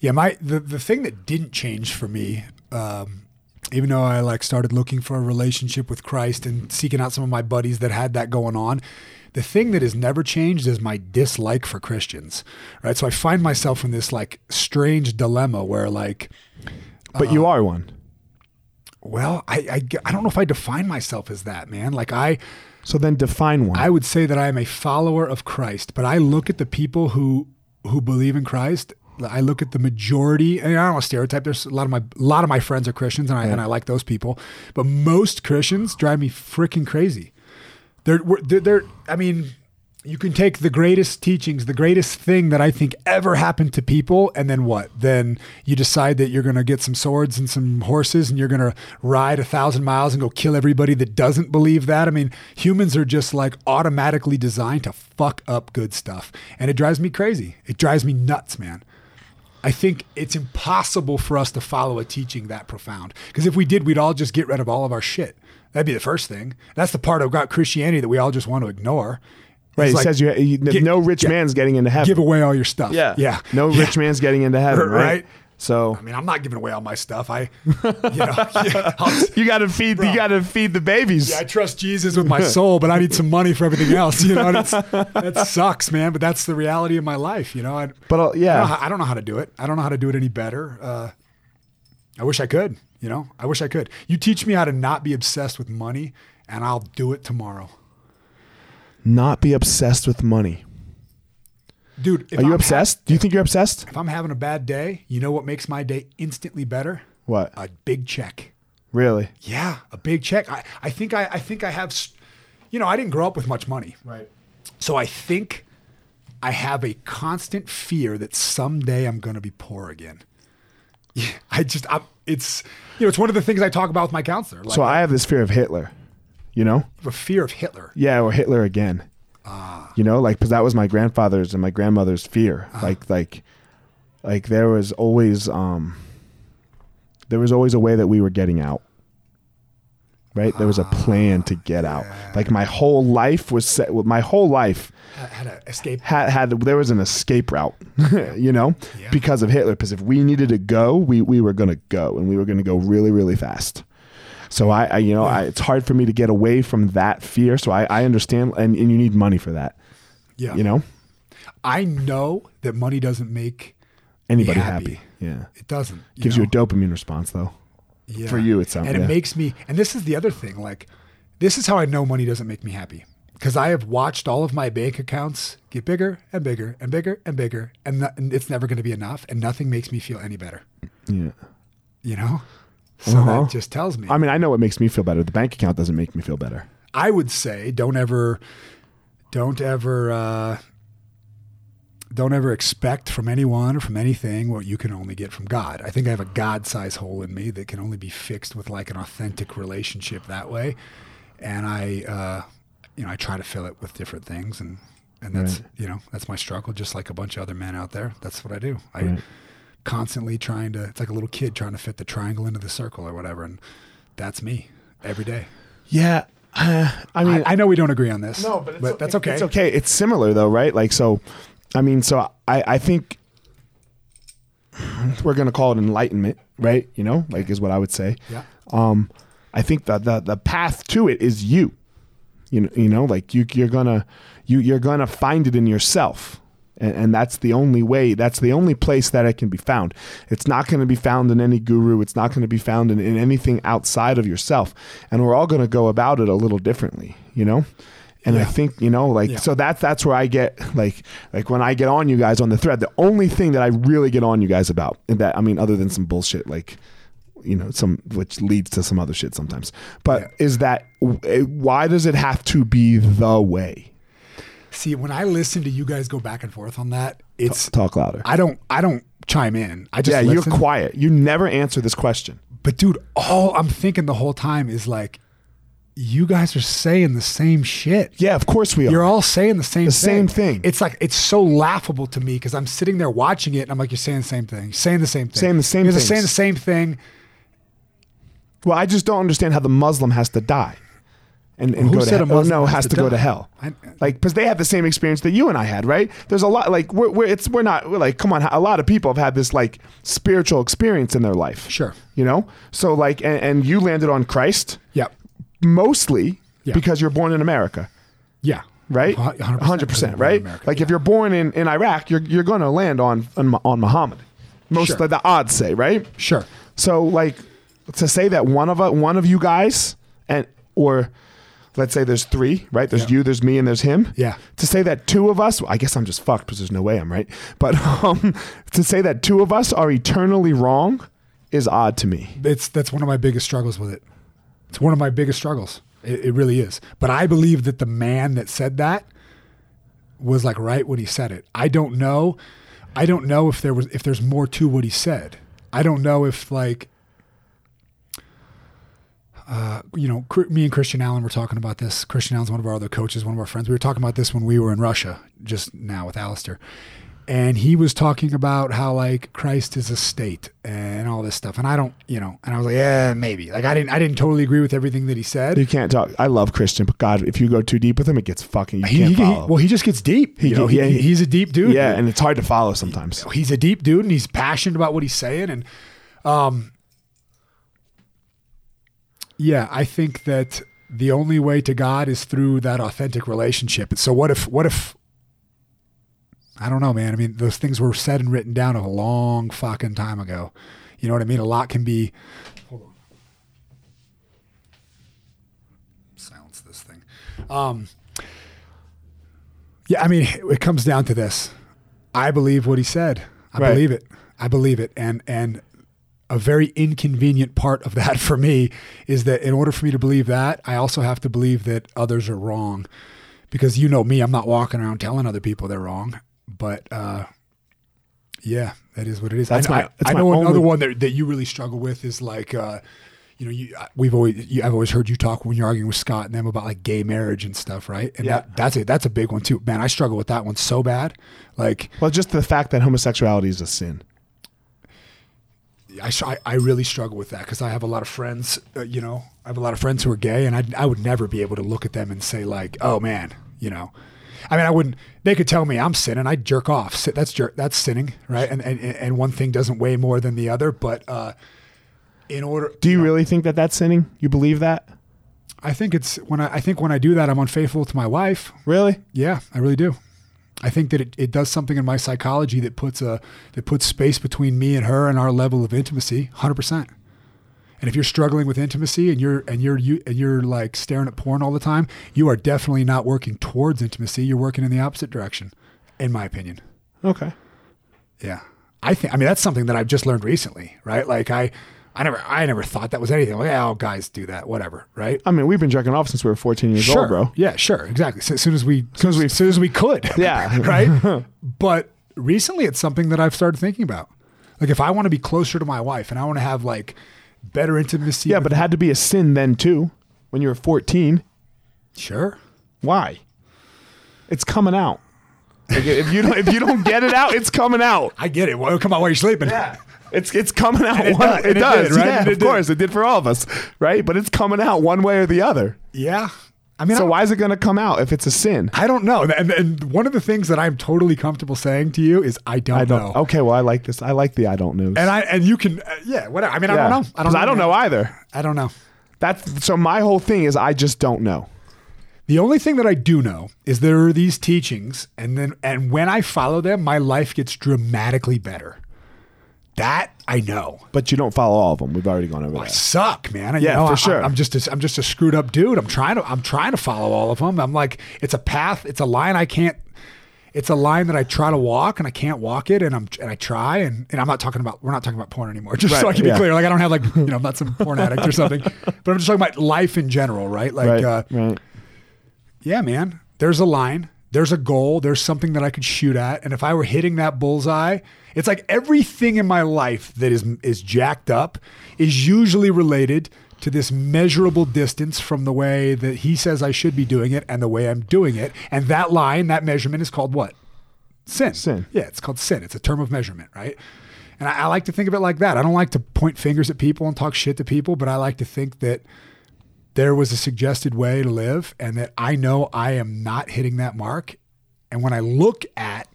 Speaker 2: Yeah, my the, the thing that didn't change for me, um, even though I like started looking for a relationship with Christ and seeking out some of my buddies that had that going on, the thing that has never changed is my dislike for Christians. Right. So I find myself in this like strange dilemma where like, Uh-huh.
Speaker 1: But you are one,
Speaker 2: well, I, I I don't know if I define myself as that, man. Like I
Speaker 1: so then define one.
Speaker 2: I would say that I am a follower of Christ, but I look at the people who who believe in Christ. I look at the majority, and I don't want to stereotype. There's a lot of my a lot of my friends are Christians, and I and I like those people, but most Christians drive me freaking crazy. They're we're- they're, they're I mean. You can take the greatest teachings, the greatest thing that I think ever happened to people, and then what? Then you decide that you're going to get some swords and some horses and you're going to ride a thousand miles and go kill everybody that doesn't believe that. I mean, humans are just like automatically designed to fuck up good stuff. And it drives me crazy. It drives me nuts, man. I think it's impossible for us to follow a teaching that profound. Because if we did, we'd all just get rid of all of our shit. That'd be the first thing. That's the part about Christianity that we all just want to ignore.
Speaker 1: right.
Speaker 2: It's
Speaker 1: It
Speaker 2: like,
Speaker 1: says you, you
Speaker 2: get-
Speaker 1: no rich
Speaker 2: yeah,
Speaker 1: man's getting into heaven.
Speaker 2: give away all your stuff.
Speaker 1: yeah.
Speaker 2: yeah.
Speaker 1: No
Speaker 2: Yeah.
Speaker 1: rich man's getting into heaven. Right.
Speaker 2: Right.
Speaker 1: So
Speaker 2: I mean, I'm not giving away all my stuff. I, you know, yeah, I'll-
Speaker 1: you got to feed, you got to feed the babies.
Speaker 2: yeah, I trust Jesus with my soul, but I need some money for everything else. You know, and it's, that sucks, man. But that's the reality of my life. You know, I,
Speaker 1: But uh,
Speaker 2: I
Speaker 1: yeah,
Speaker 2: don't, know how, I don't know how to do it. I don't know how to do it any better. Uh, I wish I could. You know, I wish I could. You teach me how to not be obsessed with money, and I'll do it tomorrow,
Speaker 1: not be obsessed with money.
Speaker 2: dude. If
Speaker 1: Are you
Speaker 2: I'm
Speaker 1: obsessed? Do you think you're obsessed?
Speaker 2: ha- if I'm having a bad day, you know what makes my day instantly better?
Speaker 1: What?
Speaker 2: A big check.
Speaker 1: Really?
Speaker 2: Yeah, a big check. I, I think I, I think I have, s- you know, I didn't grow up with much money,
Speaker 1: Right.
Speaker 2: so I think I have a constant fear that someday I'm going to be poor again. Yeah, I just, I'm, it's, you know, it's one of the things I talk about with my counselor. Like,
Speaker 1: So I have this fear of Hitler, you know?
Speaker 2: the fear of Hitler.
Speaker 1: Yeah, or Hitler again. You know, like because that was my grandfather's and my grandmother's fear. Like, like, like there was always, um, there was always a way that we were getting out. Right? There was a plan to get out. Like my whole life was set. My whole life
Speaker 2: Had, had to escape.
Speaker 1: had had there was an escape route, you know,
Speaker 2: Yeah.
Speaker 1: because of Hitler. Because if we needed to go, we we were gonna go, and we were gonna go really really fast. So I, I you know, I, it's hard for me to get away from that fear. So I, I understand, and, and you need money for that,
Speaker 2: Yeah,
Speaker 1: you know.
Speaker 2: I know that money doesn't make
Speaker 1: Anybody
Speaker 2: happy.
Speaker 1: happy. yeah.
Speaker 2: it doesn't you
Speaker 1: Gives
Speaker 2: know?
Speaker 1: you a dopamine response though.
Speaker 2: Yeah.
Speaker 1: For you, it's something,
Speaker 2: and it
Speaker 1: yeah.
Speaker 2: makes me. And this is the other thing. Like, this is how I know money doesn't make me happy because I have watched all of my bank accounts get bigger and bigger and bigger and bigger, and, no- and it's never going to be enough. And nothing makes me feel any better.
Speaker 1: Yeah.
Speaker 2: You know. So
Speaker 1: Uh-huh.
Speaker 2: that just tells me.
Speaker 1: I mean, I know what makes me feel better. The bank account doesn't make me feel better.
Speaker 2: I would say don't ever, don't ever, uh, don't ever expect from anyone or from anything what you can only get from God. I think I have a God size hole in me that can only be fixed with like an authentic relationship that way. And I, uh, you know, I try to fill it with different things and, and that's, you know, that's my struggle. Just like a bunch of other men out there. That's what I do. I constantly trying to, it's like a little kid trying to fit the triangle into the circle or whatever. And that's me every day.
Speaker 1: Yeah. Uh, I mean,
Speaker 2: I, I know we don't agree on this.
Speaker 1: No, but, it's o-
Speaker 2: that's
Speaker 1: it-
Speaker 2: okay.
Speaker 1: It's okay. It's similar though, right? Like so, I mean, so I I think we're gonna call it enlightenment, right? You know, like is what I would say.
Speaker 2: Yeah.
Speaker 1: Um, I think that the the path to it is you. You know, you know, like you you're gonna you you're gonna find it in yourself. And, and that's the only way. That's the only place that it can be found. It's not going to be found in any guru. It's not going to be found in, in anything outside of yourself. And we're all going to go about it a little differently, you know. And I
Speaker 2: Yeah.
Speaker 1: think you know, like,
Speaker 2: Yeah.
Speaker 1: so that's that's where I get like, like when I get on you guys on the thread. The only thing that I really get on you guys about, and that I mean, other than some bullshit, like, you know some which leads to some other shit sometimes but is that eh, why does it have to be the way
Speaker 2: See, when I listen to you guys go back and forth on that, it's
Speaker 1: talk louder
Speaker 2: I don't I don't chime in. I just
Speaker 1: Oh. yeah
Speaker 2: listen.
Speaker 1: you're quiet you never answer this question
Speaker 2: But dude, all I'm thinking the whole time is like, you guys are saying the same shit.
Speaker 1: yeah of course we are
Speaker 2: You're all saying the same the
Speaker 1: same thing.
Speaker 2: It's like it's so laughable to me because I'm sitting there watching it and I'm like, you're saying the same thing, You're saying the same thing,
Speaker 1: Saying the same
Speaker 2: You're
Speaker 1: things.
Speaker 2: saying the same thing.
Speaker 1: well i just don't understand how the muslim has to die and, and
Speaker 2: Who
Speaker 1: go to
Speaker 2: said a
Speaker 1: hell. or
Speaker 2: Muslim
Speaker 1: no
Speaker 2: has
Speaker 1: has to,
Speaker 2: to
Speaker 1: go
Speaker 2: die?
Speaker 1: to hell
Speaker 2: I-
Speaker 1: like because they have the same experience that you and i had right there's a lot like we're, we're it's we're not we're like come on a lot of people have had this like spiritual experience in their life
Speaker 2: Sure.
Speaker 1: you know so like and, and you landed on christ
Speaker 2: Yep.
Speaker 1: mostly
Speaker 2: Yeah.
Speaker 1: because you're born in america
Speaker 2: Yeah.
Speaker 1: right
Speaker 2: Hu-
Speaker 1: 100%, right
Speaker 2: America.
Speaker 1: like if you're born in, in iraq you're, you're gonna land on on, Mu- on muhammad most
Speaker 2: Sure.
Speaker 1: of the odds say right
Speaker 2: sure.
Speaker 1: so like to say that one of u- one of you guys and or let's say there's three, right? There's
Speaker 2: Yeah.
Speaker 1: you, there's me, and there's him.
Speaker 2: Yeah.
Speaker 1: To say that two of us, I guess I'm just fucked because there's no way I'm right. But um, to say that two of us are eternally wrong is odd to me.
Speaker 2: It's that's one of my biggest struggles with it. It's one of my biggest struggles. It, it really is. But I believe that the man that said that was like right when he said it. I don't know. I don't know if there was if there's more to what he said. I don't know if like uh, you know, Cr- me and Christian Allen were talking about this. Christian Allen's one of our other coaches, one of our friends. We were talking about this when we were in Russia just now with Alistair. And he was talking about how like Christ is a state and all this stuff. And I don't, you know, and I was like, yeah, maybe. Like I didn't I didn't totally agree with everything that he said.
Speaker 1: You can't talk. I love Christian, but God, if you go too deep with him, it gets fucking. You
Speaker 2: He-
Speaker 1: can't
Speaker 2: he- he-
Speaker 1: follow.
Speaker 2: well, he just gets deep. He,
Speaker 1: get- yeah, he-
Speaker 2: he's a deep dude.
Speaker 1: yeah, and it's hard to follow sometimes.
Speaker 2: he's a deep dude and he's passionate about what he's saying and um yeah i think that the only way to god is through that authentic relationship and so what if what if i don't know man i mean those things were said and written down a long fucking time ago you know what i mean a lot can be hold on silence this thing um yeah i mean it comes down to this I believe what he said. I
Speaker 1: Right.
Speaker 2: believe it. I believe it. And and a very inconvenient part of that for me is that in order for me to believe that, I also have to believe that others are wrong. Because you know me, I'm not walking around telling other people they're wrong. But uh, yeah, that is what it is.
Speaker 1: That's
Speaker 2: I,
Speaker 1: my-
Speaker 2: I-
Speaker 1: that's
Speaker 2: I
Speaker 1: my
Speaker 2: know another
Speaker 1: only-
Speaker 2: one that, that you really struggle with is like, uh, you know, you I- we've always you, I've always heard you talk when you're arguing with Scott and them about like gay marriage and stuff, right? And
Speaker 1: Yeah.
Speaker 2: that, that's it. That's a big one too, man. I struggle with that one so bad. Like,
Speaker 1: Well, just the fact that homosexuality is a sin.
Speaker 2: I, I, I really struggle with that because I have a lot of friends, uh, you know, I have a lot of friends who are gay, and I, I would never be able to look at them and say, like, oh man, you know. I mean, I wouldn't, they could tell me I'm sinning. I'd jerk off. Si- That's jerk, that's sinning, right? And, and, and one thing doesn't weigh more than the other. But uh, in order,
Speaker 1: Do you really think that that's sinning? You believe that?
Speaker 2: I think it's when I, I think when I do that, I'm unfaithful to my wife.
Speaker 1: Really?
Speaker 2: Yeah, I really do. I think that it, it does something in my psychology that puts a that puts space between me and her and our level of intimacy, hundred percent. And if you're struggling with intimacy and you're and you're you, and you're like staring at porn all the time, you are definitely not working towards intimacy. You're working in the opposite direction, in my opinion.
Speaker 1: Okay.
Speaker 2: Yeah. I think I mean that's something that I've just learned recently, right? Like I I never I never thought that was anything. Like, oh guys do that, whatever, right?
Speaker 1: I mean, we've been jerking off since we were 14 years
Speaker 2: sure,
Speaker 1: old, bro.
Speaker 2: Yeah, sure, exactly. So, as soon as we, soon as we, soon as we could,
Speaker 1: Yeah.
Speaker 2: right. but recently, it's something that I've started thinking about. Like, if I want to be closer to my wife and I want to have like better intimacy,
Speaker 1: Yeah,
Speaker 2: with-
Speaker 1: but it had to be a sin then too. When you were 14,
Speaker 2: sure,
Speaker 1: why? It's coming out. Like, if you don't, if you don't get it out, it's coming out.
Speaker 2: I get it. Well, come on, while you're sleeping,
Speaker 1: It's it's coming out.
Speaker 2: it
Speaker 1: one,
Speaker 2: does-
Speaker 1: it
Speaker 2: and it
Speaker 1: does,
Speaker 2: did, right?
Speaker 1: Yeah,
Speaker 2: And it
Speaker 1: of
Speaker 2: did.
Speaker 1: course, it did for all of us, right? But it's coming out one way or the other.
Speaker 2: yeah. I mean, I
Speaker 1: So
Speaker 2: don't-
Speaker 1: why is it going to come out if it's a sin?
Speaker 2: I don't know. And, and one of the things that I'm totally comfortable saying to you is I don't,
Speaker 1: I don't.
Speaker 2: know.
Speaker 1: Okay, well, I like this. I like the I don't know.
Speaker 2: And I and you can uh, yeah whatever. I mean, I don't know. I don't.
Speaker 1: I don't
Speaker 2: man.
Speaker 1: know either.
Speaker 2: I don't know.
Speaker 1: That's so. My whole thing is I just don't know.
Speaker 2: The only thing that I do know is there are these teachings, and then and when I follow them, my life gets dramatically better. That I know.
Speaker 1: But you don't follow all of them. We've already gone over
Speaker 2: I
Speaker 1: that.
Speaker 2: suck, man. You
Speaker 1: Yeah,
Speaker 2: know,
Speaker 1: for
Speaker 2: I-
Speaker 1: sure.
Speaker 2: I, am just a, I'm just a screwed up dude. I'm trying to I'm trying to follow all of them. I'm like it's a path. It's a line I can't. it's a line that I try to walk and I can't walk it, and I'm and I try, and, and I'm not talking about we're not talking about porn anymore. Just so I
Speaker 1: Right,
Speaker 2: can
Speaker 1: yeah.
Speaker 2: be clear, like I don't have like you know I'm not some porn addict or something, but I'm just talking about life in general, right? Like,
Speaker 1: right,
Speaker 2: uh,
Speaker 1: right.
Speaker 2: yeah, man, there's a line, there's a goal, there's something that I could shoot at, and if I were hitting that bullseye, it's like everything in my life that is is jacked up is usually related. To this measurable distance from the way that he says I should be doing it and the way I'm doing it. And that line, that measurement is called what? sin.
Speaker 1: Sin.
Speaker 2: Yeah, it's called sin. It's a term of measurement, right? And I, I like to think of it like that. I don't like to point fingers at people and talk shit to people, but I like to think that there was a suggested way to live and that I know I am not hitting that mark. And when I look at,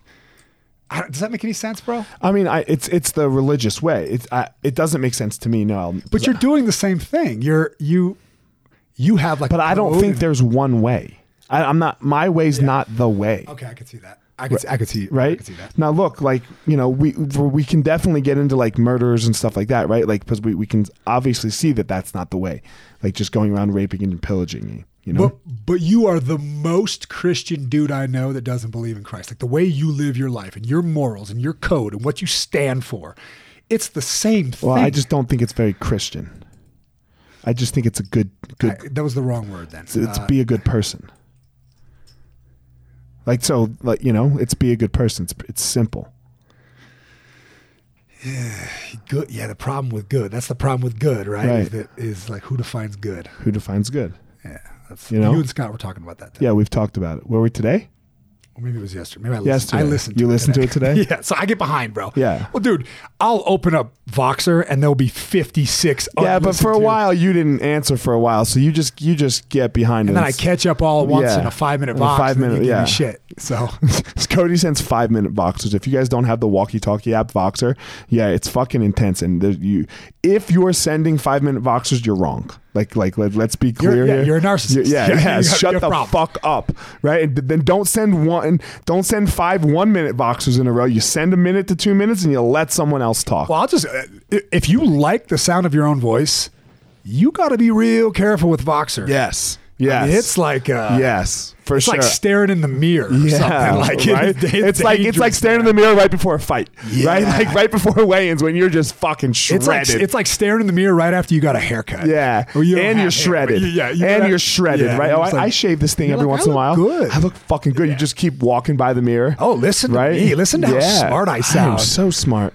Speaker 2: I don't, does that make any sense, bro?
Speaker 1: I mean, I, it's it's the religious way. It's I, it doesn't make sense to me. No, I'll-
Speaker 2: But you're doing the same thing. You're you you have like.
Speaker 1: but I don't think there's one way. I, I'm not. My way's not the way.
Speaker 2: Okay, I could see that. I could. see I could see. I
Speaker 1: right?
Speaker 2: could see that.
Speaker 1: Now look, like you know, we we can definitely get into like murders and stuff like that, right? Like because we, we can obviously see that that's not the way, like just going around raping and pillaging, you know.
Speaker 2: But but you are the most Christian dude I know that doesn't believe in Christ. Like the way you live your life and your morals and your code and what you stand for, it's the same thing.
Speaker 1: well, I just don't think it's very Christian. I just think it's a good good.
Speaker 2: I- that was the wrong word then.
Speaker 1: it's it's
Speaker 2: Uh,
Speaker 1: be a good person. Like so, like you know, it's be a good person. It's it's simple.
Speaker 2: good. Yeah, the problem with good. That's the problem with good, right? Is,
Speaker 1: Right.
Speaker 2: that, is like who defines good.
Speaker 1: Who defines good?
Speaker 2: Yeah, that's,
Speaker 1: You
Speaker 2: you
Speaker 1: know?
Speaker 2: You and Scott were talking about that. Today.
Speaker 1: Yeah, we've talked about it. Were we today?
Speaker 2: Or maybe it was yesterday. Maybe I listened.
Speaker 1: Yesterday.
Speaker 2: I listened.
Speaker 1: You listened to it today?
Speaker 2: yeah. So I get behind, bro.
Speaker 1: Yeah.
Speaker 2: Well, dude, I'll open up Voxer and there'll be fifty six.
Speaker 1: Yeah, but for a while you didn't answer for a while, so you just you just get behind
Speaker 2: And
Speaker 1: it.
Speaker 2: then I
Speaker 1: It's-
Speaker 2: catch up all at once
Speaker 1: Yeah.
Speaker 2: in a five minute
Speaker 1: In a
Speaker 2: box.
Speaker 1: five
Speaker 2: and then you
Speaker 1: minute-
Speaker 2: give me
Speaker 1: yeah.
Speaker 2: Shit. So
Speaker 1: Cody sends five minute boxers. If you guys don't have the walkie talkie app Voxer, yeah, it's fucking intense. And there, you, if you're sending five minute boxers, you're wrong. Like, like let, let's be
Speaker 2: You're-
Speaker 1: clear
Speaker 2: yeah,
Speaker 1: here.
Speaker 2: you're a narcissist.
Speaker 1: You're- yeah, yeah.
Speaker 2: Yeah, you have- you
Speaker 1: shut
Speaker 2: have
Speaker 1: the
Speaker 2: problems.
Speaker 1: fuck up, right? And then don't send one. Don't send five one minute boxers in a row. You send a minute to two minutes, and you let someone else talk.
Speaker 2: well, I'll just uh, i- if you like the sound of your own voice, you got to be real careful with Voxer.
Speaker 1: yes,
Speaker 2: I
Speaker 1: yes,
Speaker 2: mean, it's like uh,
Speaker 1: yes, for
Speaker 2: it's
Speaker 1: sure.
Speaker 2: like staring in the mirror. Or
Speaker 1: Yeah,
Speaker 2: something. like it
Speaker 1: right?
Speaker 2: is- it's,
Speaker 1: it's like it's like
Speaker 2: dangerous.
Speaker 1: staring in the mirror right before a fight, right?
Speaker 2: Yeah.
Speaker 1: Like right before weigh-ins when you're just fucking shredded.
Speaker 2: It's like it's like staring in the mirror right after you got a haircut.
Speaker 1: yeah,
Speaker 2: Or you don't
Speaker 1: and you're
Speaker 2: have hair, but
Speaker 1: shredded.
Speaker 2: you- Yeah, you
Speaker 1: and
Speaker 2: got-
Speaker 1: you're shredded,
Speaker 2: yeah,
Speaker 1: right?
Speaker 2: and
Speaker 1: Oh, I,
Speaker 2: it's like-
Speaker 1: I shave this thing
Speaker 2: you're
Speaker 1: every
Speaker 2: like,
Speaker 1: once
Speaker 2: "I
Speaker 1: in a while.
Speaker 2: look good."
Speaker 1: I look fucking good. You just keep walking by the mirror.
Speaker 2: Oh, listen to
Speaker 1: right?
Speaker 2: me. Listen to how smart I
Speaker 1: I'm
Speaker 2: sound.
Speaker 1: so smart.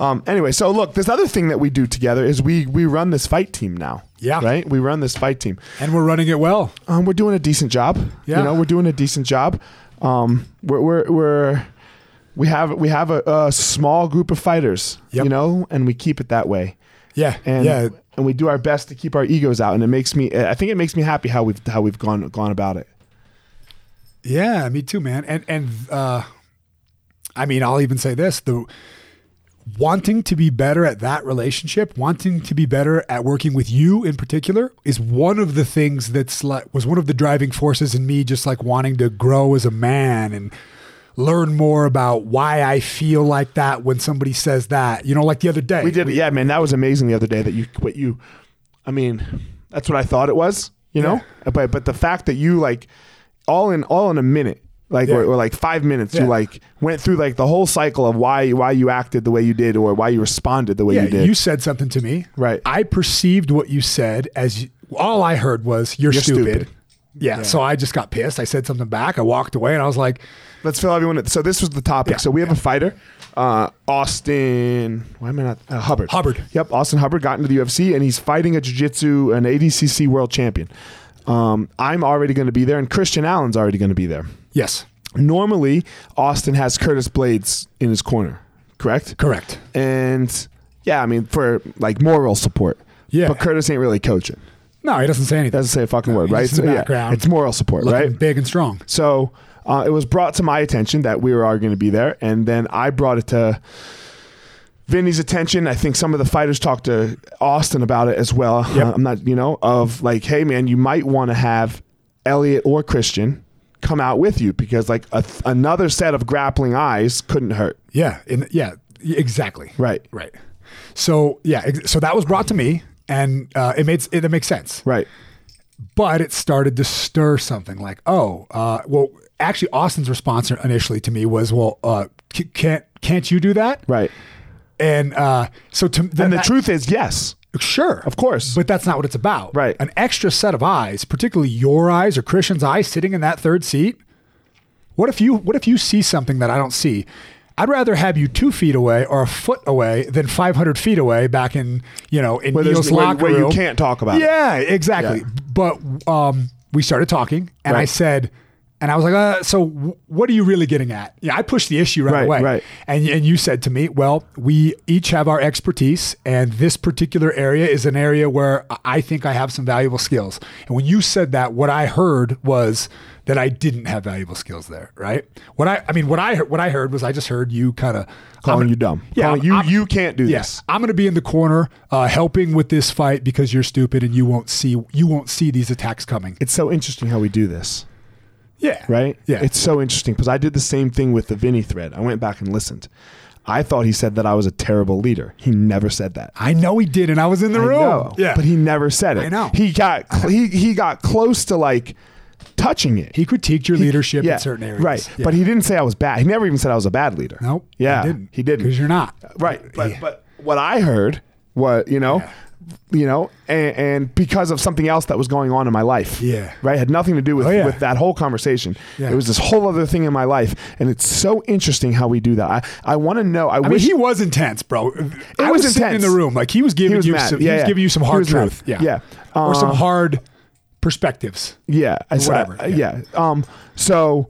Speaker 1: Um, anyway, so look, this other thing that we do together is we we run this fight team now.
Speaker 2: Yeah.
Speaker 1: right. We run this fight team.
Speaker 2: and we're running it well.
Speaker 1: Um, we're doing a decent job.
Speaker 2: Yeah.
Speaker 1: You know, we're doing a decent job. Um, we're, we're, we're, we have, we have a, a small group of fighters,
Speaker 2: Yep.
Speaker 1: you know, and we keep it that way.
Speaker 2: Yeah.
Speaker 1: And,
Speaker 2: yeah.
Speaker 1: and we do our best to keep our egos out. And it makes me, I think it makes me happy how we've, how we've gone, gone about it.
Speaker 2: Yeah, me too, man. And and uh I mean, I'll even say this, the wanting to be better at that relationship, wanting to be better at working with you in particular is one of the things that's like was one of the driving forces in me just like wanting to grow as a man and learn more about why I feel like that when somebody says that. You know, like the other day.
Speaker 1: We did. Yeah, man, that was amazing the other day that you, what you, I mean, that's what I thought it was, you know, but, but the fact that you like all in, all in a minute, like, or,
Speaker 2: Yeah.
Speaker 1: or like five minutes, you
Speaker 2: Yeah.
Speaker 1: like went through like the whole cycle of why, why you acted the way you did or why you responded the way
Speaker 2: Yeah,
Speaker 1: you did.
Speaker 2: you said something to me.
Speaker 1: Right.
Speaker 2: I perceived what you said as all I heard was you're,
Speaker 1: stupid."
Speaker 2: stupid. Yeah, So I just got pissed. I said something back. I walked away and I was like,
Speaker 1: Let's fill everyone in. So this was the topic.
Speaker 2: Yeah,
Speaker 1: so we have a fighter, uh, Austin. Why am I not uh, Hubbard?
Speaker 2: Hubbard.
Speaker 1: Yep, Austin Hubbard got into the UFC and he's fighting a jiu-jitsu, an ADCC world champion. Um, I'm already going to be there, and Christian Allen's already going to be there.
Speaker 2: yes,
Speaker 1: Normally, Austin has Curtis Blades in his corner, correct?
Speaker 2: correct.
Speaker 1: And yeah, I mean for like moral support.
Speaker 2: Yeah.
Speaker 1: but Curtis ain't really coaching.
Speaker 2: No, he doesn't say anything.
Speaker 1: Doesn't say a fucking word,
Speaker 2: he's
Speaker 1: right?
Speaker 2: just in the background,
Speaker 1: it's moral support,
Speaker 2: Looking
Speaker 1: right?
Speaker 2: Big and strong.
Speaker 1: So uh, it was brought to my attention that we were all going to be there, and then I brought it to Vinny's attention. I think some of the fighters talked to Austin about it as well. Uh, I'm not, you know, of like, hey man, you might want to have Elliot or Christian come out with you because like a th- another set of grappling eyes couldn't hurt,
Speaker 2: Yeah. In, yeah. y- Exactly.
Speaker 1: right?
Speaker 2: Right. So yeah. ex- So that was brought to me, and uh, it made it, it makes sense.
Speaker 1: Right.
Speaker 2: but it started to stir something like, oh, uh, well, actually Austin's response initially to me was, "Well, uh, c- can't can't you do that?"
Speaker 1: Right.
Speaker 2: And uh, so to
Speaker 1: And the truth is, yes,
Speaker 2: sure,
Speaker 1: of course.
Speaker 2: but that's not what it's about.
Speaker 1: Right.
Speaker 2: An extra set of eyes, particularly your eyes or Christian's eyes sitting in that third seat. What if you what if you see something that I don't see? I'd rather have you two feet away or a foot away than five hundred feet away back in you know in
Speaker 1: Where there's-
Speaker 2: Neil's
Speaker 1: where-
Speaker 2: locker
Speaker 1: where you
Speaker 2: room.
Speaker 1: can't talk about it.
Speaker 2: Yeah, exactly. But um, we started talking, and I
Speaker 1: Right.
Speaker 2: said, and I was like, uh, so w- what are you really getting at? Yeah, I pushed the issue right,
Speaker 1: Right,
Speaker 2: away,
Speaker 1: right.
Speaker 2: And and you said to me, well, we each have our expertise, and this particular area is an area where I- I think I have some valuable skills. And when you said that, what I heard was that I didn't have valuable skills there, right? What I I mean, what I heard- what I heard was I just heard you kind of
Speaker 1: calling you dumb.
Speaker 2: Yeah,
Speaker 1: Calling you
Speaker 2: I'm-
Speaker 1: you can't do
Speaker 2: Yes,
Speaker 1: this.
Speaker 2: I'm going to be in the corner uh, helping with this fight because you're stupid and you won't see you won't see these attacks coming.
Speaker 1: It's so interesting how we do this.
Speaker 2: Yeah,
Speaker 1: right?
Speaker 2: Yeah,
Speaker 1: It's so interesting because I did the same thing with the Vinny thread. I went back and listened. I thought he said that I was a terrible leader. He never said that.
Speaker 2: I know he did, and I was in the
Speaker 1: I
Speaker 2: room.
Speaker 1: know,
Speaker 2: yeah,
Speaker 1: but he never said it.
Speaker 2: I know.
Speaker 1: He got cl- he, he got close to like touching it.
Speaker 2: he critiqued your leadership
Speaker 1: yeah,
Speaker 2: in certain areas.
Speaker 1: Right.
Speaker 2: Yeah.
Speaker 1: But he didn't say I was bad. He never even said I was a bad leader.
Speaker 2: nope.
Speaker 1: Yeah.
Speaker 2: he didn't.
Speaker 1: He didn't.
Speaker 2: because you're not.
Speaker 1: Right. But but what I heard was, you know, you know, and, and because of something else that was going on in my life.
Speaker 2: Yeah.
Speaker 1: Right. Had nothing to do with,
Speaker 2: Oh, yeah.
Speaker 1: with that whole conversation.
Speaker 2: Yeah.
Speaker 1: It was this whole other thing in my life. And it's so interesting how we do that. I, I want to know. I,
Speaker 2: I mean,
Speaker 1: wish
Speaker 2: he was intense, bro. It I
Speaker 1: was
Speaker 2: sitting
Speaker 1: intense.
Speaker 2: in the room, like he was giving
Speaker 1: was
Speaker 2: you
Speaker 1: mad.
Speaker 2: some,
Speaker 1: Yeah,
Speaker 2: he was
Speaker 1: yeah.
Speaker 2: giving you some
Speaker 1: He
Speaker 2: hard
Speaker 1: was mad.
Speaker 2: truth.
Speaker 1: Yeah.
Speaker 2: or some
Speaker 1: Uh,
Speaker 2: hard perspectives.
Speaker 1: Yeah, I saw-
Speaker 2: whatever,
Speaker 1: uh,
Speaker 2: yeah.
Speaker 1: Yeah. Um. So,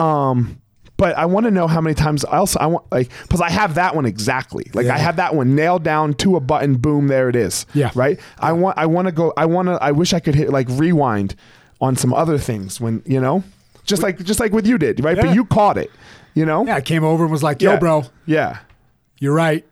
Speaker 1: um. But I want to know how many times I also I want like because I have that one exactly like
Speaker 2: Yeah.
Speaker 1: I have that one nailed down to a button boom there it is
Speaker 2: Yeah.
Speaker 1: right I want I want to go I want to I wish I could hit like rewind on some other things when you know just like just like with you did right
Speaker 2: Yeah.
Speaker 1: but you caught it you know
Speaker 2: Yeah, I came over and was like, "Yo,
Speaker 1: Yeah.
Speaker 2: bro,
Speaker 1: yeah
Speaker 2: You're right.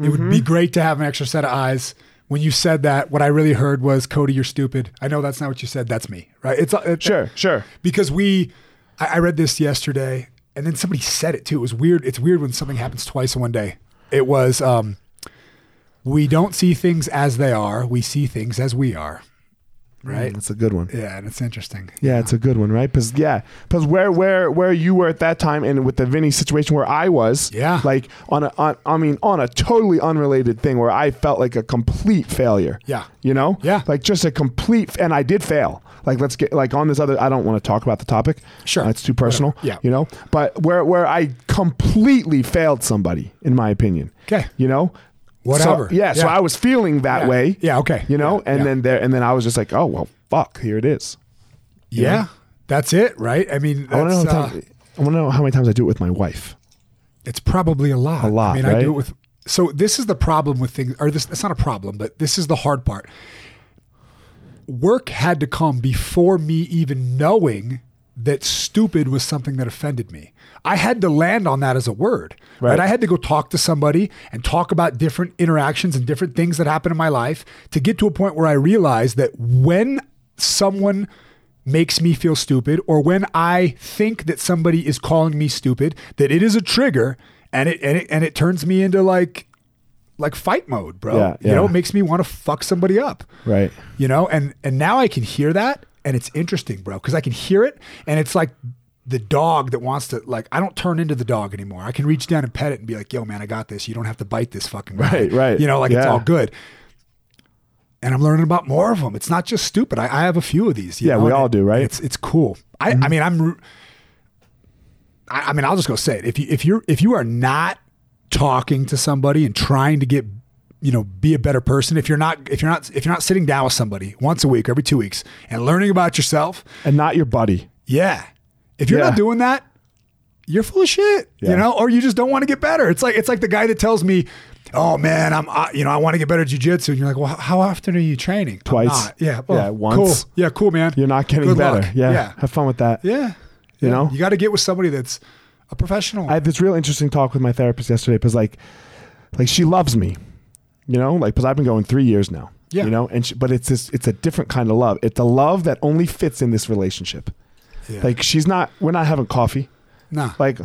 Speaker 2: It would
Speaker 1: Mm-hmm.
Speaker 2: be great to have an extra set of eyes. When you said that, what I really heard was, Cody, you're stupid. I know that's not what you said. That's me, right? It's it,
Speaker 1: sure sure
Speaker 2: because we. I, I read this yesterday, and then somebody said it too. It was weird. It's weird when something happens twice in one day. It was, um, we don't see things as they are. We see things as we are, right?
Speaker 1: Mm, that's a good one
Speaker 2: Yeah, and it's interesting.
Speaker 1: Yeah, it's a good one, right? Because yeah, because where where where you were at that time, and with the Vinny situation where I was,
Speaker 2: Yeah.
Speaker 1: like on a on, I mean on a totally unrelated thing where I felt like a complete failure.
Speaker 2: Yeah.
Speaker 1: you know,
Speaker 2: Yeah.
Speaker 1: like just a complete, and I did fail. Like let's get like on this other. I don't want to talk about the topic.
Speaker 2: Sure.
Speaker 1: it's too personal.
Speaker 2: Whatever. Yeah.
Speaker 1: you know, but where where I completely failed somebody, in my opinion.
Speaker 2: 'Kay.
Speaker 1: you know. So-
Speaker 2: Whatever.
Speaker 1: yeah, so
Speaker 2: Yeah.
Speaker 1: I was feeling that
Speaker 2: Yeah.
Speaker 1: way.
Speaker 2: Yeah, okay.
Speaker 1: You know,
Speaker 2: Yeah,
Speaker 1: and
Speaker 2: yeah.
Speaker 1: then there, and then I was just like, oh well, fuck, here it is.
Speaker 2: Yeah, that's it, right? I mean,
Speaker 1: I want to
Speaker 2: that's,
Speaker 1: know. How
Speaker 2: uh,
Speaker 1: time, I want to know how many times I do it with my wife.
Speaker 2: It's probably a lot. A
Speaker 1: lot,
Speaker 2: I mean, I
Speaker 1: right?
Speaker 2: do it with. So this is the problem with things, or this. It's not a problem, but this is the hard part. Work had to come before me even knowing that stupid was something that offended me. I had to land on that as a word. Right.
Speaker 1: Right.
Speaker 2: I had to go talk to somebody and talk about different interactions and different things that happened in my life to get to a point where I realized that when someone makes me feel stupid or when I think that somebody is calling me stupid, that it is a trigger and it and it and it turns me into like like fight mode, bro.
Speaker 1: Yeah,
Speaker 2: You know,
Speaker 1: yeah.
Speaker 2: it makes me want to fuck somebody up
Speaker 1: Right.
Speaker 2: you know and and now i can hear that and it's interesting bro because i can hear it and it's like the dog that wants to like i don't turn into the dog anymore i can reach down and pet it and be like yo man i got this you don't have to bite this fucking guy.
Speaker 1: Right, right.
Speaker 2: you know like it's
Speaker 1: Yeah.
Speaker 2: all good and i'm learning about more of them it's not just stupid i, I have a few of these you
Speaker 1: Yeah,
Speaker 2: know,
Speaker 1: we
Speaker 2: and
Speaker 1: all
Speaker 2: it-
Speaker 1: do, right? Mm-hmm.
Speaker 2: it's it's cool i i mean i'm ru- I, I mean, I'll just go say it. If you if you're if you are not talking to somebody and trying to get you know be a better person, if you're not if you're not if you're not sitting down with somebody once a week, every two weeks, and learning about yourself,
Speaker 1: And not your buddy.
Speaker 2: yeah. If you're
Speaker 1: Yeah.
Speaker 2: not doing that, you're full of shit. You
Speaker 1: Yeah.
Speaker 2: know, or you just don't want to get better. It's like it's like the guy that tells me, "Oh man, I'm I, you know I want to get better at jujitsu," and you're like, "Well, h- how often are you training?" "I'm
Speaker 1: Twice.
Speaker 2: not." Yeah.
Speaker 1: Yeah,
Speaker 2: Oh,
Speaker 1: once.
Speaker 2: Cool. Yeah. Cool, man.
Speaker 1: You're not getting
Speaker 2: Good
Speaker 1: better.
Speaker 2: luck.
Speaker 1: Yeah.
Speaker 2: Yeah.
Speaker 1: Have fun with that.
Speaker 2: Yeah.
Speaker 1: You
Speaker 2: Yeah.
Speaker 1: know?
Speaker 2: you got to get with somebody that's a professional.
Speaker 1: I had this real interesting talk with my therapist yesterday because like, like she loves me, you know, like because I've been going three years now.
Speaker 2: Yeah.
Speaker 1: You know, and she, but it's this, it's a different kind of love. It's a love that only fits in this relationship.
Speaker 2: Yeah.
Speaker 1: Like she's not, we're not having coffee.
Speaker 2: Nah.
Speaker 1: Like,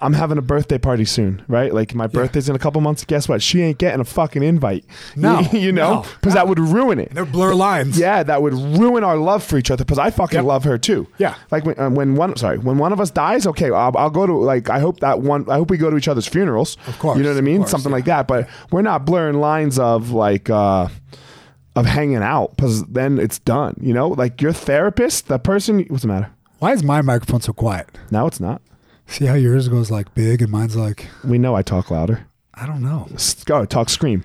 Speaker 1: I'm having a birthday party soon, right? Like, my birthday's in a couple months. Guess what? She ain't getting a fucking invite.
Speaker 2: No,
Speaker 1: you know,
Speaker 2: no,
Speaker 1: because that would ruin it.
Speaker 2: They're blur lines.
Speaker 1: Yeah, that would ruin our love for each other because I fucking
Speaker 2: Yep.
Speaker 1: love her too.
Speaker 2: Yeah.
Speaker 1: like when, uh, when one sorry when one of us dies, okay, I'll, I'll go to like I hope that one I hope we go to each other's funerals.
Speaker 2: Of course,
Speaker 1: you know what I
Speaker 2: of
Speaker 1: mean,
Speaker 2: course,
Speaker 1: something
Speaker 2: yeah.
Speaker 1: like that. But we're not blurring lines of like uh of hanging out because then it's done. You know, like your therapist, the person. What's the matter?
Speaker 2: Why is my microphone so quiet?
Speaker 1: Now it's not.
Speaker 2: See how yours goes like big and mine's like
Speaker 1: We know I talk louder.
Speaker 2: I don't know.
Speaker 1: S- Go talk scream.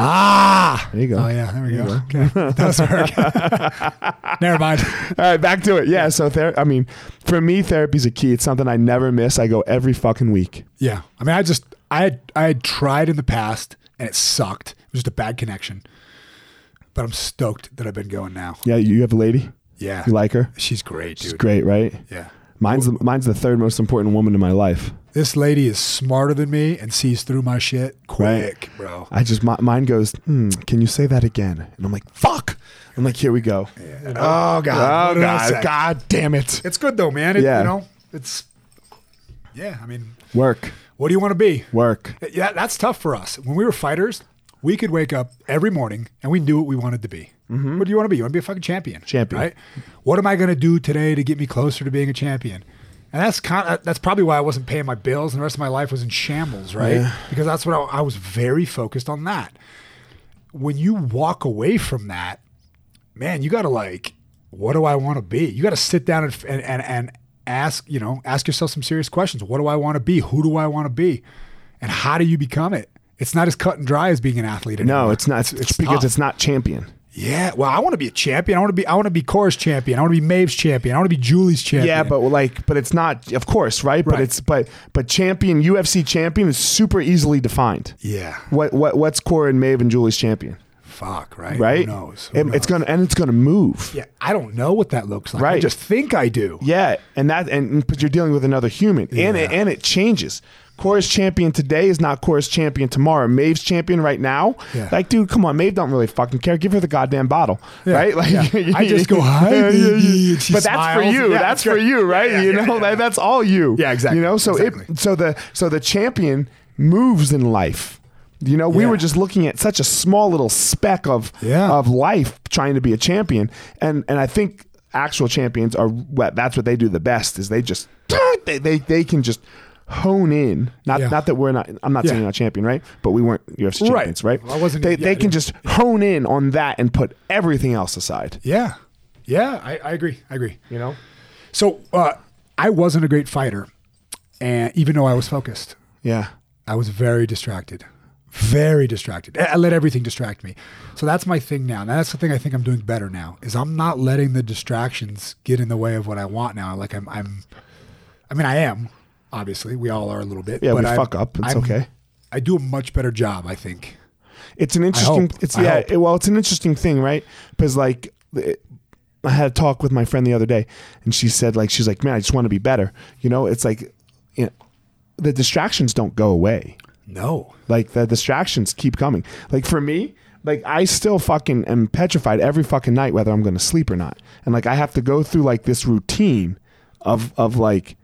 Speaker 2: Ah.
Speaker 1: There you go.
Speaker 2: Oh yeah, there we go. Okay. That was work. Never mind.
Speaker 1: All right, back to it. Yeah, so ther- I mean, for me, therapy's a key. It's something I never miss. I go every fucking week.
Speaker 2: Yeah. I mean, I just I had I had tried in the past and it sucked. It was just a bad connection. But I'm stoked that I've been going now.
Speaker 1: Yeah, you have a lady.
Speaker 2: Yeah.
Speaker 1: You like her?
Speaker 2: She's great,
Speaker 1: She's
Speaker 2: dude.
Speaker 1: great, right?
Speaker 2: Yeah.
Speaker 1: Mine's the, mine's the third most important woman in my life.
Speaker 2: This lady is smarter than me and sees through my shit quick, bro.
Speaker 1: I just my, mine goes. Hmm, can you say that again? And I'm like, fuck. I'm like, here we go.
Speaker 2: Oh
Speaker 1: Oh god, god damn it.
Speaker 2: It's good though, man. It,
Speaker 1: Yeah.
Speaker 2: You know, it's yeah. I mean,
Speaker 1: Work,
Speaker 2: what do you want to be?
Speaker 1: work.
Speaker 2: Yeah, that's tough for us. When we were fighters, we could wake up every morning and we knew what we wanted to be. What do you want to be? You want to be a fucking champion.
Speaker 1: Champion.
Speaker 2: Right? What am I going to do today to get me closer to being a champion? And that's kind of, that's probably why I wasn't paying my bills and the rest of my life was in shambles, right? Because that's what I, I was very focused on that. When you walk away from that, man, you got to like, what do I want to be? You got to sit down and, and, and, and ask, you know, ask yourself some serious questions. What do I want to be? Who do I want to be? And how do you become it? It's not as cut and dry as being an athlete. Anymore.
Speaker 1: No, it's not. It's, because
Speaker 2: tough.
Speaker 1: it's not champion.
Speaker 2: Yeah. Well, I want to be a champion. I want to be, I want to be Cora's champion. I want to be Maeve's champion. I want to be Julie's champion.
Speaker 1: Yeah, but like, but it's not. Of course, right? But
Speaker 2: Right.
Speaker 1: it's but but champion UFC champion is super easily defined.
Speaker 2: yeah,
Speaker 1: What what what's Cora and Maeve and Julie's champion?
Speaker 2: fuck. Right.
Speaker 1: Right?
Speaker 2: Who knows? Who
Speaker 1: It-
Speaker 2: knows?
Speaker 1: It's gonna and it's gonna move.
Speaker 2: yeah. I don't know what that looks like. I
Speaker 1: Right.
Speaker 2: just think I do.
Speaker 1: Yeah, and that and but you're dealing with another human, and it,
Speaker 2: Yeah.
Speaker 1: and it changes. Chorus champion today is not chorus champion tomorrow. Maeve's champion right now.
Speaker 2: Yeah.
Speaker 1: Like, dude, come on, Maeve don't really fucking care. Give her the goddamn bottle, right? Like,
Speaker 2: yeah. I just go, "Hi, baby," and she
Speaker 1: but that's for
Speaker 2: smiles.
Speaker 1: you.
Speaker 2: Yeah,
Speaker 1: that's
Speaker 2: that's
Speaker 1: for
Speaker 2: right.
Speaker 1: you, right?
Speaker 2: Yeah,
Speaker 1: you
Speaker 2: yeah,
Speaker 1: know,
Speaker 2: yeah.
Speaker 1: Like, that's all you.
Speaker 2: Yeah, exactly,
Speaker 1: You know, so
Speaker 2: exactly.
Speaker 1: it so the so the champion moves in life. You know, we
Speaker 2: Yeah.
Speaker 1: were just looking at such a small little speck of
Speaker 2: Yeah.
Speaker 1: of life trying to be a champion and and i think actual champions are what that's what they do the best is they just they they, they can just hone in not
Speaker 2: Yeah.
Speaker 1: not that we're not i'm not saying
Speaker 2: Yeah.
Speaker 1: you're not champion right but we weren't ufc
Speaker 2: Right.
Speaker 1: champions right,
Speaker 2: I wasn't-
Speaker 1: they,
Speaker 2: yeah, I
Speaker 1: they can
Speaker 2: didn't-
Speaker 1: just hone in on that and put everything else aside
Speaker 2: Yeah. Yeah. I, I agree. I agree.
Speaker 1: you know
Speaker 2: So uh, I wasn't a great fighter, and even though I was focused,
Speaker 1: yeah
Speaker 2: I was very distracted, very distracted. I I let everything distract me. So that's my thing now. And that's the thing I think I'm doing better now is I'm not letting the distractions get in the way of what I want now. Like I'm, I'm, I mean, I am. Obviously, we all are a little bit.
Speaker 1: Yeah, we
Speaker 2: I'm-
Speaker 1: fuck up. It's
Speaker 2: I'm-
Speaker 1: okay.
Speaker 2: I do a much better job, I think.
Speaker 1: it's an interesting
Speaker 2: hope.
Speaker 1: it's
Speaker 2: I
Speaker 1: yeah
Speaker 2: hope.
Speaker 1: it- well it's an interesting thing right because like it- i had a talk with my friend the other day and she said like she's like man i just want to be better you know it's like you know, the distractions don't go away
Speaker 2: No.
Speaker 1: like the distractions keep coming like for me like i still fucking am petrified every fucking night whether i'm gonna sleep or not and like i have to go through like this routine of of like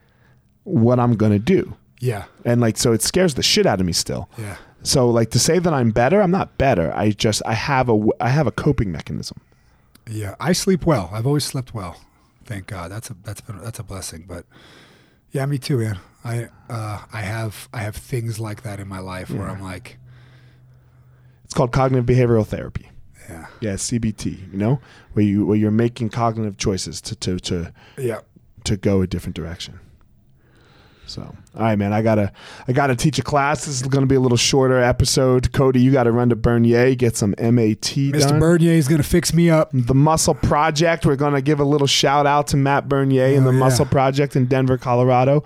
Speaker 1: what i'm gonna do
Speaker 2: Yeah.
Speaker 1: and like so it scares the shit out of me still
Speaker 2: Yeah.
Speaker 1: so like to say that I'm better, I'm not better. I just I have a w- I have a coping mechanism.
Speaker 2: Yeah, I sleep well. I've always slept well. Thank God. That's a that's been that's a blessing. But yeah, me too, man. I uh, I have I have things like that in my life where I'm like,
Speaker 1: It's called cognitive behavioral therapy.
Speaker 2: yeah,
Speaker 1: Yeah, CBT. You know, where you where you're making cognitive choices to to to
Speaker 2: yeah.
Speaker 1: to go a different direction. So, all right, man, I gotta I gotta teach a class. This is gonna be a little shorter episode. Cody, you gotta run to Bernier, get some MAT
Speaker 2: Mr.
Speaker 1: done.
Speaker 2: Bernier is gonna fix me up.
Speaker 1: the Muscle Project. We're going to give a little shout out to Matt Bernier and
Speaker 2: Oh,
Speaker 1: the
Speaker 2: yeah.
Speaker 1: Muscle Project in Denver, Colorado.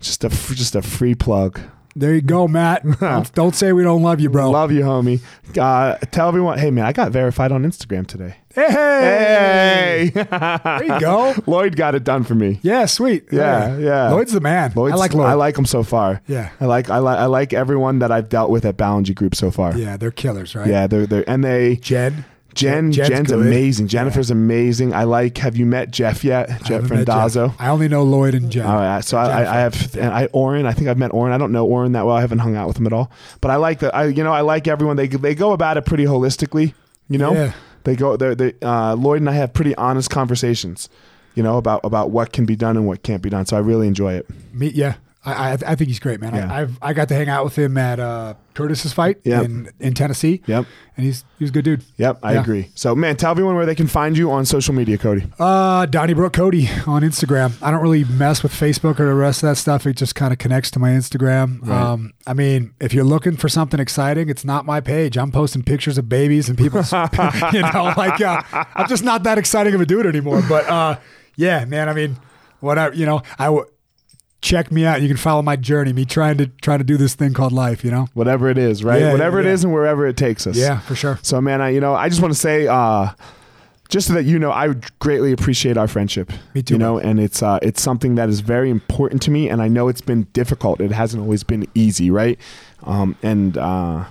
Speaker 1: Just a f- just a free plug.
Speaker 2: There you go, Matt. don't, don't say we don't love you, bro.
Speaker 1: Love you, homie. Uh, tell everyone, hey man, I got verified on Instagram today.
Speaker 2: hey,
Speaker 1: Hey,
Speaker 2: there you go.
Speaker 1: Lloyd got it done for me.
Speaker 2: Yeah, sweet.
Speaker 1: Yeah, yeah.
Speaker 2: Lloyd's the man.
Speaker 1: Lloyd's,
Speaker 2: I like Lloyd.
Speaker 1: I like him so far.
Speaker 2: Yeah.
Speaker 1: I like I like I like everyone that I've dealt with at Ballinger Group so far.
Speaker 2: Yeah, they're killers, right?
Speaker 1: yeah, they're they're and they
Speaker 2: Jen.
Speaker 1: Jen,
Speaker 2: Jen's
Speaker 1: Jen's
Speaker 2: good.
Speaker 1: amazing. Jennifer's amazing. I like. Have you met Jeff yet? Jeff
Speaker 2: haven't met
Speaker 1: Frandazzo.
Speaker 2: Jeff. I only know Lloyd and Jen.
Speaker 1: All right, so I, I, I have and I Orin. I think I've met Orin. I don't know Orin that well. I haven't hung out with him at all. But I like that. I you know I like everyone. They they go about it pretty holistically. You know,
Speaker 2: Yeah.
Speaker 1: they go. They, they uh, Lloyd and I have pretty honest conversations. You know about about what can be done and what can't be done. So I really enjoy it.
Speaker 2: Me, yeah. I, I, I think he's great, man.
Speaker 1: Yeah.
Speaker 2: I, I've I got to hang out with him at uh, Curtis's fight
Speaker 1: Yep.
Speaker 2: in, in Tennessee.
Speaker 1: Yep.
Speaker 2: and he's he was a good dude.
Speaker 1: Yep, I
Speaker 2: Yeah.
Speaker 1: agree. So man, tell everyone where they can find you on social media, Cody.
Speaker 2: Uh, Donnybrook Cody on Instagram. I don't really mess with Facebook or the rest of that stuff. It just kind of connects to my Instagram. Um, I mean, if you're looking for something exciting, it's not my page. I'm posting pictures of babies and people, you know, like uh, I'm just not that exciting of a dude anymore. But uh, yeah, man. I mean, whatever. You know, I w- check me out. You can follow my journey. Me trying to trying to do this thing called life. You know.
Speaker 1: Whatever it is, right?
Speaker 2: Yeah,
Speaker 1: Whatever it
Speaker 2: yeah.
Speaker 1: is and wherever it takes us.
Speaker 2: Yeah, for sure.
Speaker 1: So man, I you know I just want to say, uh, just so that you know, I would greatly appreciate our friendship.
Speaker 2: Me too,
Speaker 1: You know, and it's uh, it's something that is very important to me, and I know it's been difficult. It hasn't always been easy, right? Um, and uh,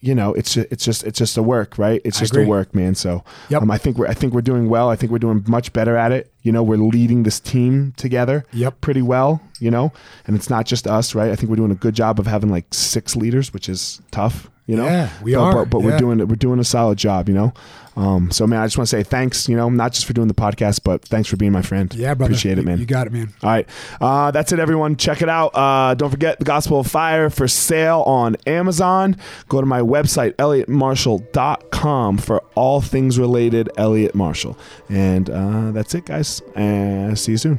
Speaker 1: you know, it's ju- it's just it's just a work, right? It's just a
Speaker 2: agree.
Speaker 1: work, man. So
Speaker 2: Yep.
Speaker 1: um, I think we're I think we're doing well. I think we're doing much better at it. You know, we're leading this team together
Speaker 2: Yep.
Speaker 1: pretty well, you know, and it's not just us, right? I think we're doing a good job of having like six leaders, which is tough, you know.
Speaker 2: Yeah, we
Speaker 1: but,
Speaker 2: are.
Speaker 1: But, but we're
Speaker 2: Yeah.
Speaker 1: doing we're doing a solid job, you know. Um, so man, I just want to say thanks, you know, not just for doing the podcast, but thanks for being my friend.
Speaker 2: Yeah, brother.
Speaker 1: Appreciate it,
Speaker 2: You-
Speaker 1: man.
Speaker 2: You got it, man.
Speaker 1: All right. Uh, that's it, everyone. Check it out. Uh, don't forget the Gospel of Fire for sale on Amazon. Go to my website, elliottmarshall.com, for all things related, Elliot Marshall. And uh, that's it, guys. And see you soon.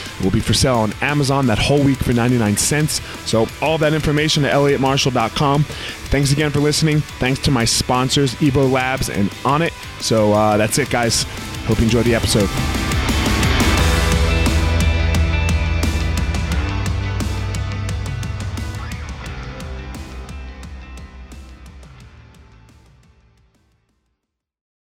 Speaker 1: It will be for sale on Amazon that whole week for 99 cents. So, all that information at elliottmarshall.com. Thanks again for listening. Thanks to my sponsors, Evo Labs and On It. So, uh, that's it, guys. Hope you enjoyed the episode.